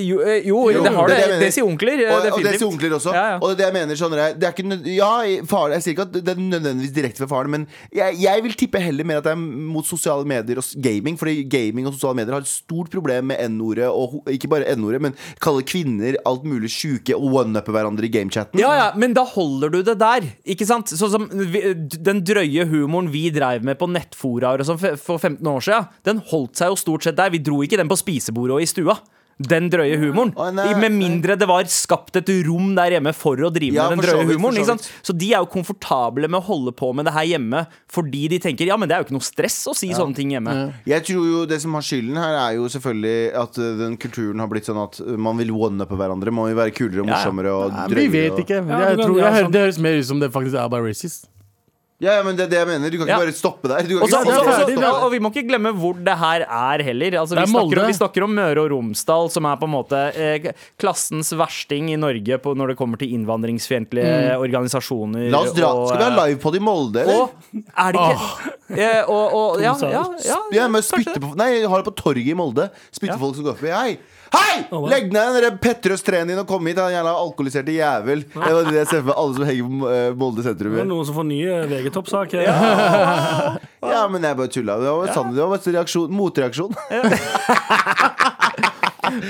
Speaker 4: jo, eh, jo,
Speaker 3: Jo,
Speaker 4: det har
Speaker 3: er
Speaker 4: det.
Speaker 3: jeg mener.
Speaker 4: Det sier onkler. eh,
Speaker 3: Og, og det
Speaker 4: definitivt.
Speaker 3: sier onkler også.
Speaker 4: Ja, ja.
Speaker 3: Og det er det jeg mener sånn er, det er ikke nød Ja, far, jeg sier ikke at det er nødvendigvis direkte fra faren, men jeg, jeg vil tippe heller mer at det er mot sosiale medier og s- gaming, fordi gaming og sosiale medier har et stort problem med N-ordet, og ho- ikke bare N-ordet, men kalle kvinner alt mulig sjuke og one-uppe hverandre i gamechatten.
Speaker 4: Ja, ja, men da holder du det der. Ikke sant? Sånn som vi, Den drøye humoren vi dreiv med på nettforaer og sånn for- for 15 år siden, den holdt seg jo stort sett der. Vi dro ikke den på spisebordet og i stua. Den drøye humoren.
Speaker 3: Å, nei,
Speaker 4: I- med mindre det var skapt et rom der hjemme for å drive
Speaker 3: Ja,
Speaker 4: med
Speaker 3: for
Speaker 4: den
Speaker 3: så
Speaker 4: drøye
Speaker 3: vidt, for
Speaker 4: humoren.
Speaker 3: så
Speaker 4: Ikke sant? Så de er jo komfortable med å holde på med det her hjemme fordi de tenker ja, men det er jo ikke noe stress å si sånne ting hjemme.
Speaker 3: Jeg tror jo Det som har skylden her, er jo selvfølgelig at uh, den kulturen har blitt sånn at uh, man vil one-uppe hverandre. Man vil være kulere og
Speaker 4: Ja, ja.
Speaker 3: morsommere og
Speaker 5: Nei, men
Speaker 3: drøyere.
Speaker 5: Vi vet
Speaker 3: og-
Speaker 5: ikke.
Speaker 2: Ja, du
Speaker 5: jeg
Speaker 2: kan-
Speaker 5: tror,
Speaker 2: ja, sånn.
Speaker 5: jeg hører,
Speaker 2: sant.
Speaker 5: det høres mer ut som det faktisk er bare racist.
Speaker 3: Ja, ja, men det er det jeg mener. Du kan ikke
Speaker 4: Ja.
Speaker 3: bare stoppe der. Du kan
Speaker 4: Og så-
Speaker 3: ikke stoppe
Speaker 4: og så- og
Speaker 3: stoppe
Speaker 4: så- og- og vi må ikke glemme hvor det her er heller. Altså,
Speaker 5: Det er
Speaker 4: vi, snakker om,
Speaker 5: Molde.
Speaker 4: vi snakker om Møre og Romsdal, som er på en måte eh, klassens versting i Norge på, når det kommer til
Speaker 5: Mm.
Speaker 4: innvandringsfiendtlige organisasjoner.
Speaker 3: La oss dra.
Speaker 4: og,
Speaker 3: Skal vi
Speaker 4: eh,
Speaker 3: ha livepod i Molde, eller?
Speaker 4: Og er det ikke eh, og, og, ja, ja, ja,
Speaker 3: Ja, men
Speaker 4: kanskje
Speaker 3: spytte
Speaker 4: det.
Speaker 3: på Nei, jeg har det på torget i Molde. Spytte folk som går forbi. Hei! Hei!
Speaker 2: wow.
Speaker 3: Legg ned den der Petrøs-treen din og kom hit, den jævla alkoholiserte jævel. Det var det jeg ser for meg alle som henger på eh, Molde sentrum.
Speaker 2: Det er
Speaker 3: her.
Speaker 2: noen som får nye VG-toppsaker.
Speaker 3: Ja, men jeg bare tulla. Det var sant. Det var en reaksjon, motreaksjon.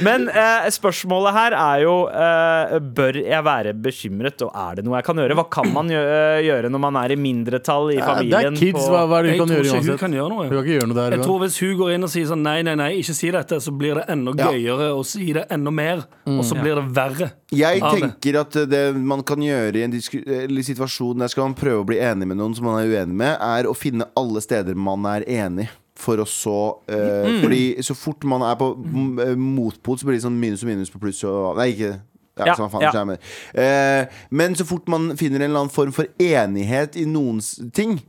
Speaker 4: Men eh, spørsmålet her er jo eh, Bør jeg være bekymret, og er det noe jeg kan gjøre? Hva kan man gjø eh, gjøre når man er i mindretall i
Speaker 5: Ja, Det
Speaker 4: familien?
Speaker 5: er kids.
Speaker 4: på-
Speaker 5: Hva, hva er det
Speaker 2: Jeg
Speaker 5: du kan
Speaker 2: tror
Speaker 5: gjøre
Speaker 2: ikke hun
Speaker 5: uansett?
Speaker 2: kan gjøre noe.
Speaker 5: Du kan ikke gjøre noe der.
Speaker 2: Jeg tror Hvis hun går inn og sier sånn nei, nei, nei, ikke si dette, så blir det enda
Speaker 3: Ja.
Speaker 2: gøyere å si det enda mer. Og så blir det verre.
Speaker 3: Jeg
Speaker 2: av det.
Speaker 3: tenker at det man kan gjøre i en disku- eller situasjon der skal man prøve å bli enig med noen som man er uenig med, er å finne alle steder man er enig. For å så eh,
Speaker 4: Mm.
Speaker 3: Fordi så fort man er på m- eh, motpol, så blir det sånn minus og minus på pluss og Nei, ikke ja,
Speaker 4: Ja,
Speaker 3: samme faen,
Speaker 4: ja.
Speaker 3: så jeg mener. Eh, men så fort man finner en eller annen form for enighet i noens ting,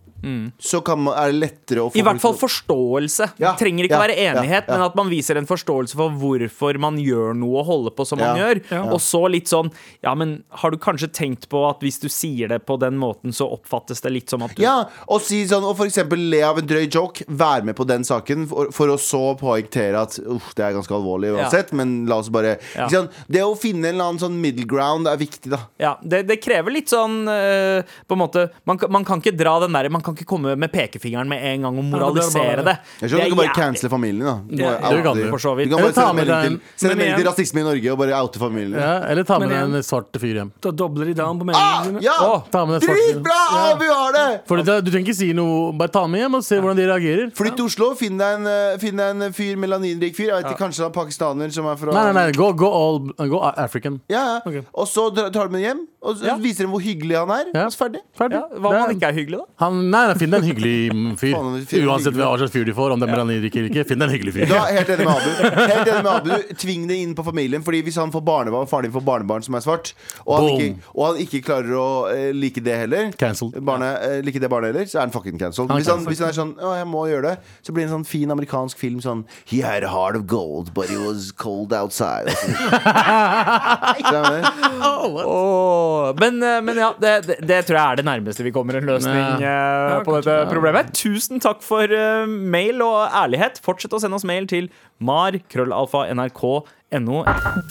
Speaker 3: så kan man, er det lettere å få
Speaker 4: Mm. I hvert fall
Speaker 3: folk til å-
Speaker 4: forståelse.
Speaker 3: Ja,
Speaker 4: det trenger ikke
Speaker 3: ja,
Speaker 4: være enighet,
Speaker 3: ja, ja.
Speaker 4: men at man viser en forståelse for hvorfor man gjør noe og holder på som man
Speaker 3: Ja,
Speaker 4: gjør.
Speaker 2: ja.
Speaker 4: Og så litt sånn Ja, men har du kanskje tenkt på at hvis du sier det på den måten, så oppfattes det litt som at du
Speaker 3: Ja, og si sånn, og for eksempel le av en drøy joke Vær med på den saken For, for å så poengtere at Uff, det er ganske alvorlig uansett Men la oss bare
Speaker 4: Ja.
Speaker 3: ikke sant? Det å finne en eller annen sånn middle ground er viktig da
Speaker 4: Ja, det, det krever litt sånn eh, På en måte man, kan- man kan ikke dra den der Man kan ikke komme med pekefingeren med en gang og
Speaker 2: Ja, det blir
Speaker 4: moralisere
Speaker 2: det
Speaker 4: det.
Speaker 2: bare-
Speaker 3: Jeg skjønner du kan bare
Speaker 4: jævlig.
Speaker 3: cancele familien da Du må
Speaker 4: Ja,
Speaker 3: oute
Speaker 5: det kan
Speaker 3: dem.
Speaker 5: du,
Speaker 4: for så vidt.
Speaker 3: Du kan
Speaker 5: Eller
Speaker 3: bare
Speaker 5: ta
Speaker 3: sende
Speaker 5: med
Speaker 3: melding til
Speaker 5: deg
Speaker 2: Men
Speaker 3: Send en melding til
Speaker 2: igjen-
Speaker 3: rasisme i Norge Og bare oute familien
Speaker 5: Ja, eller ta med
Speaker 2: Men
Speaker 5: deg
Speaker 2: igjen-
Speaker 5: en svart fyr hjem.
Speaker 2: Da dobler de down på
Speaker 3: Ah,
Speaker 2: meningene dine.
Speaker 3: ja!
Speaker 5: Å, ta med deg svart fyr.
Speaker 3: Dritbra, Abu har det
Speaker 5: For det, du trenger ikke si noe. Bare ta med hjem og se hvordan de reagerer.
Speaker 3: Flytt til Oslo, finn deg en, eh, finn deg en fyr, melaninrik fyr Jeg vet ikke, kanskje han er pakistaner som er fra
Speaker 5: Nei, nei, nei, gå, gå all gå African.
Speaker 3: Ja, ja.
Speaker 2: Ok.
Speaker 3: Og så dra- tar du med hjem Og så
Speaker 4: Ja.
Speaker 3: viser dem hvor hyggelig han er
Speaker 5: Ja.
Speaker 3: Og så ferdig
Speaker 5: Ferdig.
Speaker 4: Ja, hva om
Speaker 5: Det er-
Speaker 4: man ikke er hyggelig, da?
Speaker 5: han, nei, nei, finn deg en hyggelig mm, fyr.
Speaker 3: Faen, det er en
Speaker 5: Uansett
Speaker 3: hyggelig-
Speaker 5: hva slags fyr de får, om det er melaninrik eller ikke. Finn deg en hyggelig fyr.
Speaker 3: Da, er jeg helt enig med Abu. Helt enig med Abu Tving det inn på familien. Fordi Hvis han får barnebarn, faren din får barnebarn som er svart, og han,
Speaker 5: Boom.
Speaker 3: ikke, og han ikke klarer å eh, like det heller
Speaker 5: Cancelled.
Speaker 3: barnet, eh, Like det barnet heller, så er han fucking cancelled.
Speaker 5: Han er
Speaker 3: Hvis han,
Speaker 5: cancelled.
Speaker 3: hvis han er sånn Å, jeg må gjøre det, så blir det en sånn fin amerikansk film sånn He had a heart of gold, but it was cold outside. Skjønner du?
Speaker 4: Åh, men, eh, men ja, det, det, det tror jeg er det nærmeste vi kommer en løsning eh, på dette problemet. Tusen takk for eh, mail og ærlighet. Fortsett å sende oss mail til mar.krøllalfa.nrk.no.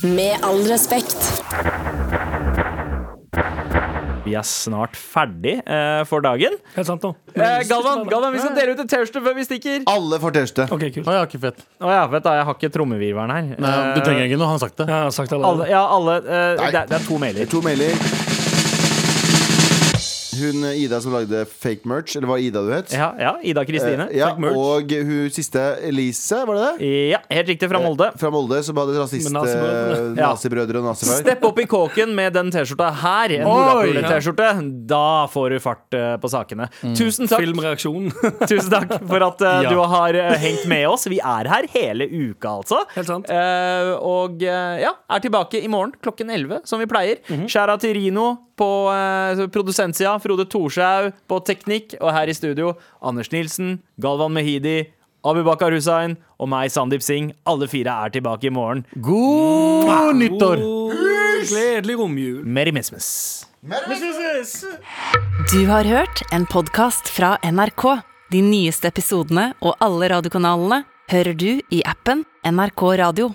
Speaker 6: Med all respekt.
Speaker 4: Vi er snart ferdig eh, for dagen.
Speaker 2: Helt sant, da.
Speaker 4: Eh, Galvan, Galvan, vi skal dele ut et T-skjorte før vi stikker.
Speaker 3: Alle får teste.
Speaker 2: OK, kult.
Speaker 5: Å, ja, ikke fett.
Speaker 4: Å ja, vet du, jeg har ikke trommevirvelen her.
Speaker 5: Nei, du
Speaker 4: Eh,
Speaker 5: trenger ikke noe, han har sagt det.
Speaker 2: Jeg har sagt det
Speaker 4: alle,
Speaker 2: allerede.
Speaker 4: ja, alle eh,
Speaker 3: Nei.
Speaker 4: det, er- det er to mailer.
Speaker 3: To mailer. Hun eh, Ida som lagde fake merch, eller var Ida du het?
Speaker 4: Ja, ja Ida Kristine.
Speaker 3: Eh, ja,
Speaker 4: Takk, Merch.
Speaker 3: og hun siste, Elise, var det det?
Speaker 4: ja, helt riktig fra Molde.
Speaker 3: Fra Molde, som hadde rasist
Speaker 2: Med nazibrødrene.
Speaker 3: eh, nazibrødre og nazifar.
Speaker 4: Stepp opp i kåken med den T-skjorta her. En Olapule-T-skjorte. Da får du fart eh, på sakene.
Speaker 2: Mm.
Speaker 4: Tusen, takk,
Speaker 2: Filmreaksjonen.
Speaker 4: tusen takk for at eh,
Speaker 5: Ja.
Speaker 4: du har eh, hengt med oss. Vi er her hele uka, altså.
Speaker 2: Helt sant.
Speaker 4: Eh, og eh, ja, er tilbake i morgen klokken 11, som vi pleier.
Speaker 2: Mhm.
Speaker 4: Skjæra til Rino på eh, produsentsida. Frode Thorshaug på teknikk. Og her i studio Anders Nilsen, Galvan Mehidi, Abubakar Hussain og meg, Sandeep Singh. Alle fire er tilbake i morgen.
Speaker 5: God nyttår!
Speaker 2: Gledelig romjul.
Speaker 4: Merry Mismus.
Speaker 1: Du har hørt en podkast fra NRK. De nyeste episodene og alle radiokanalene hører du i appen NRK Radio.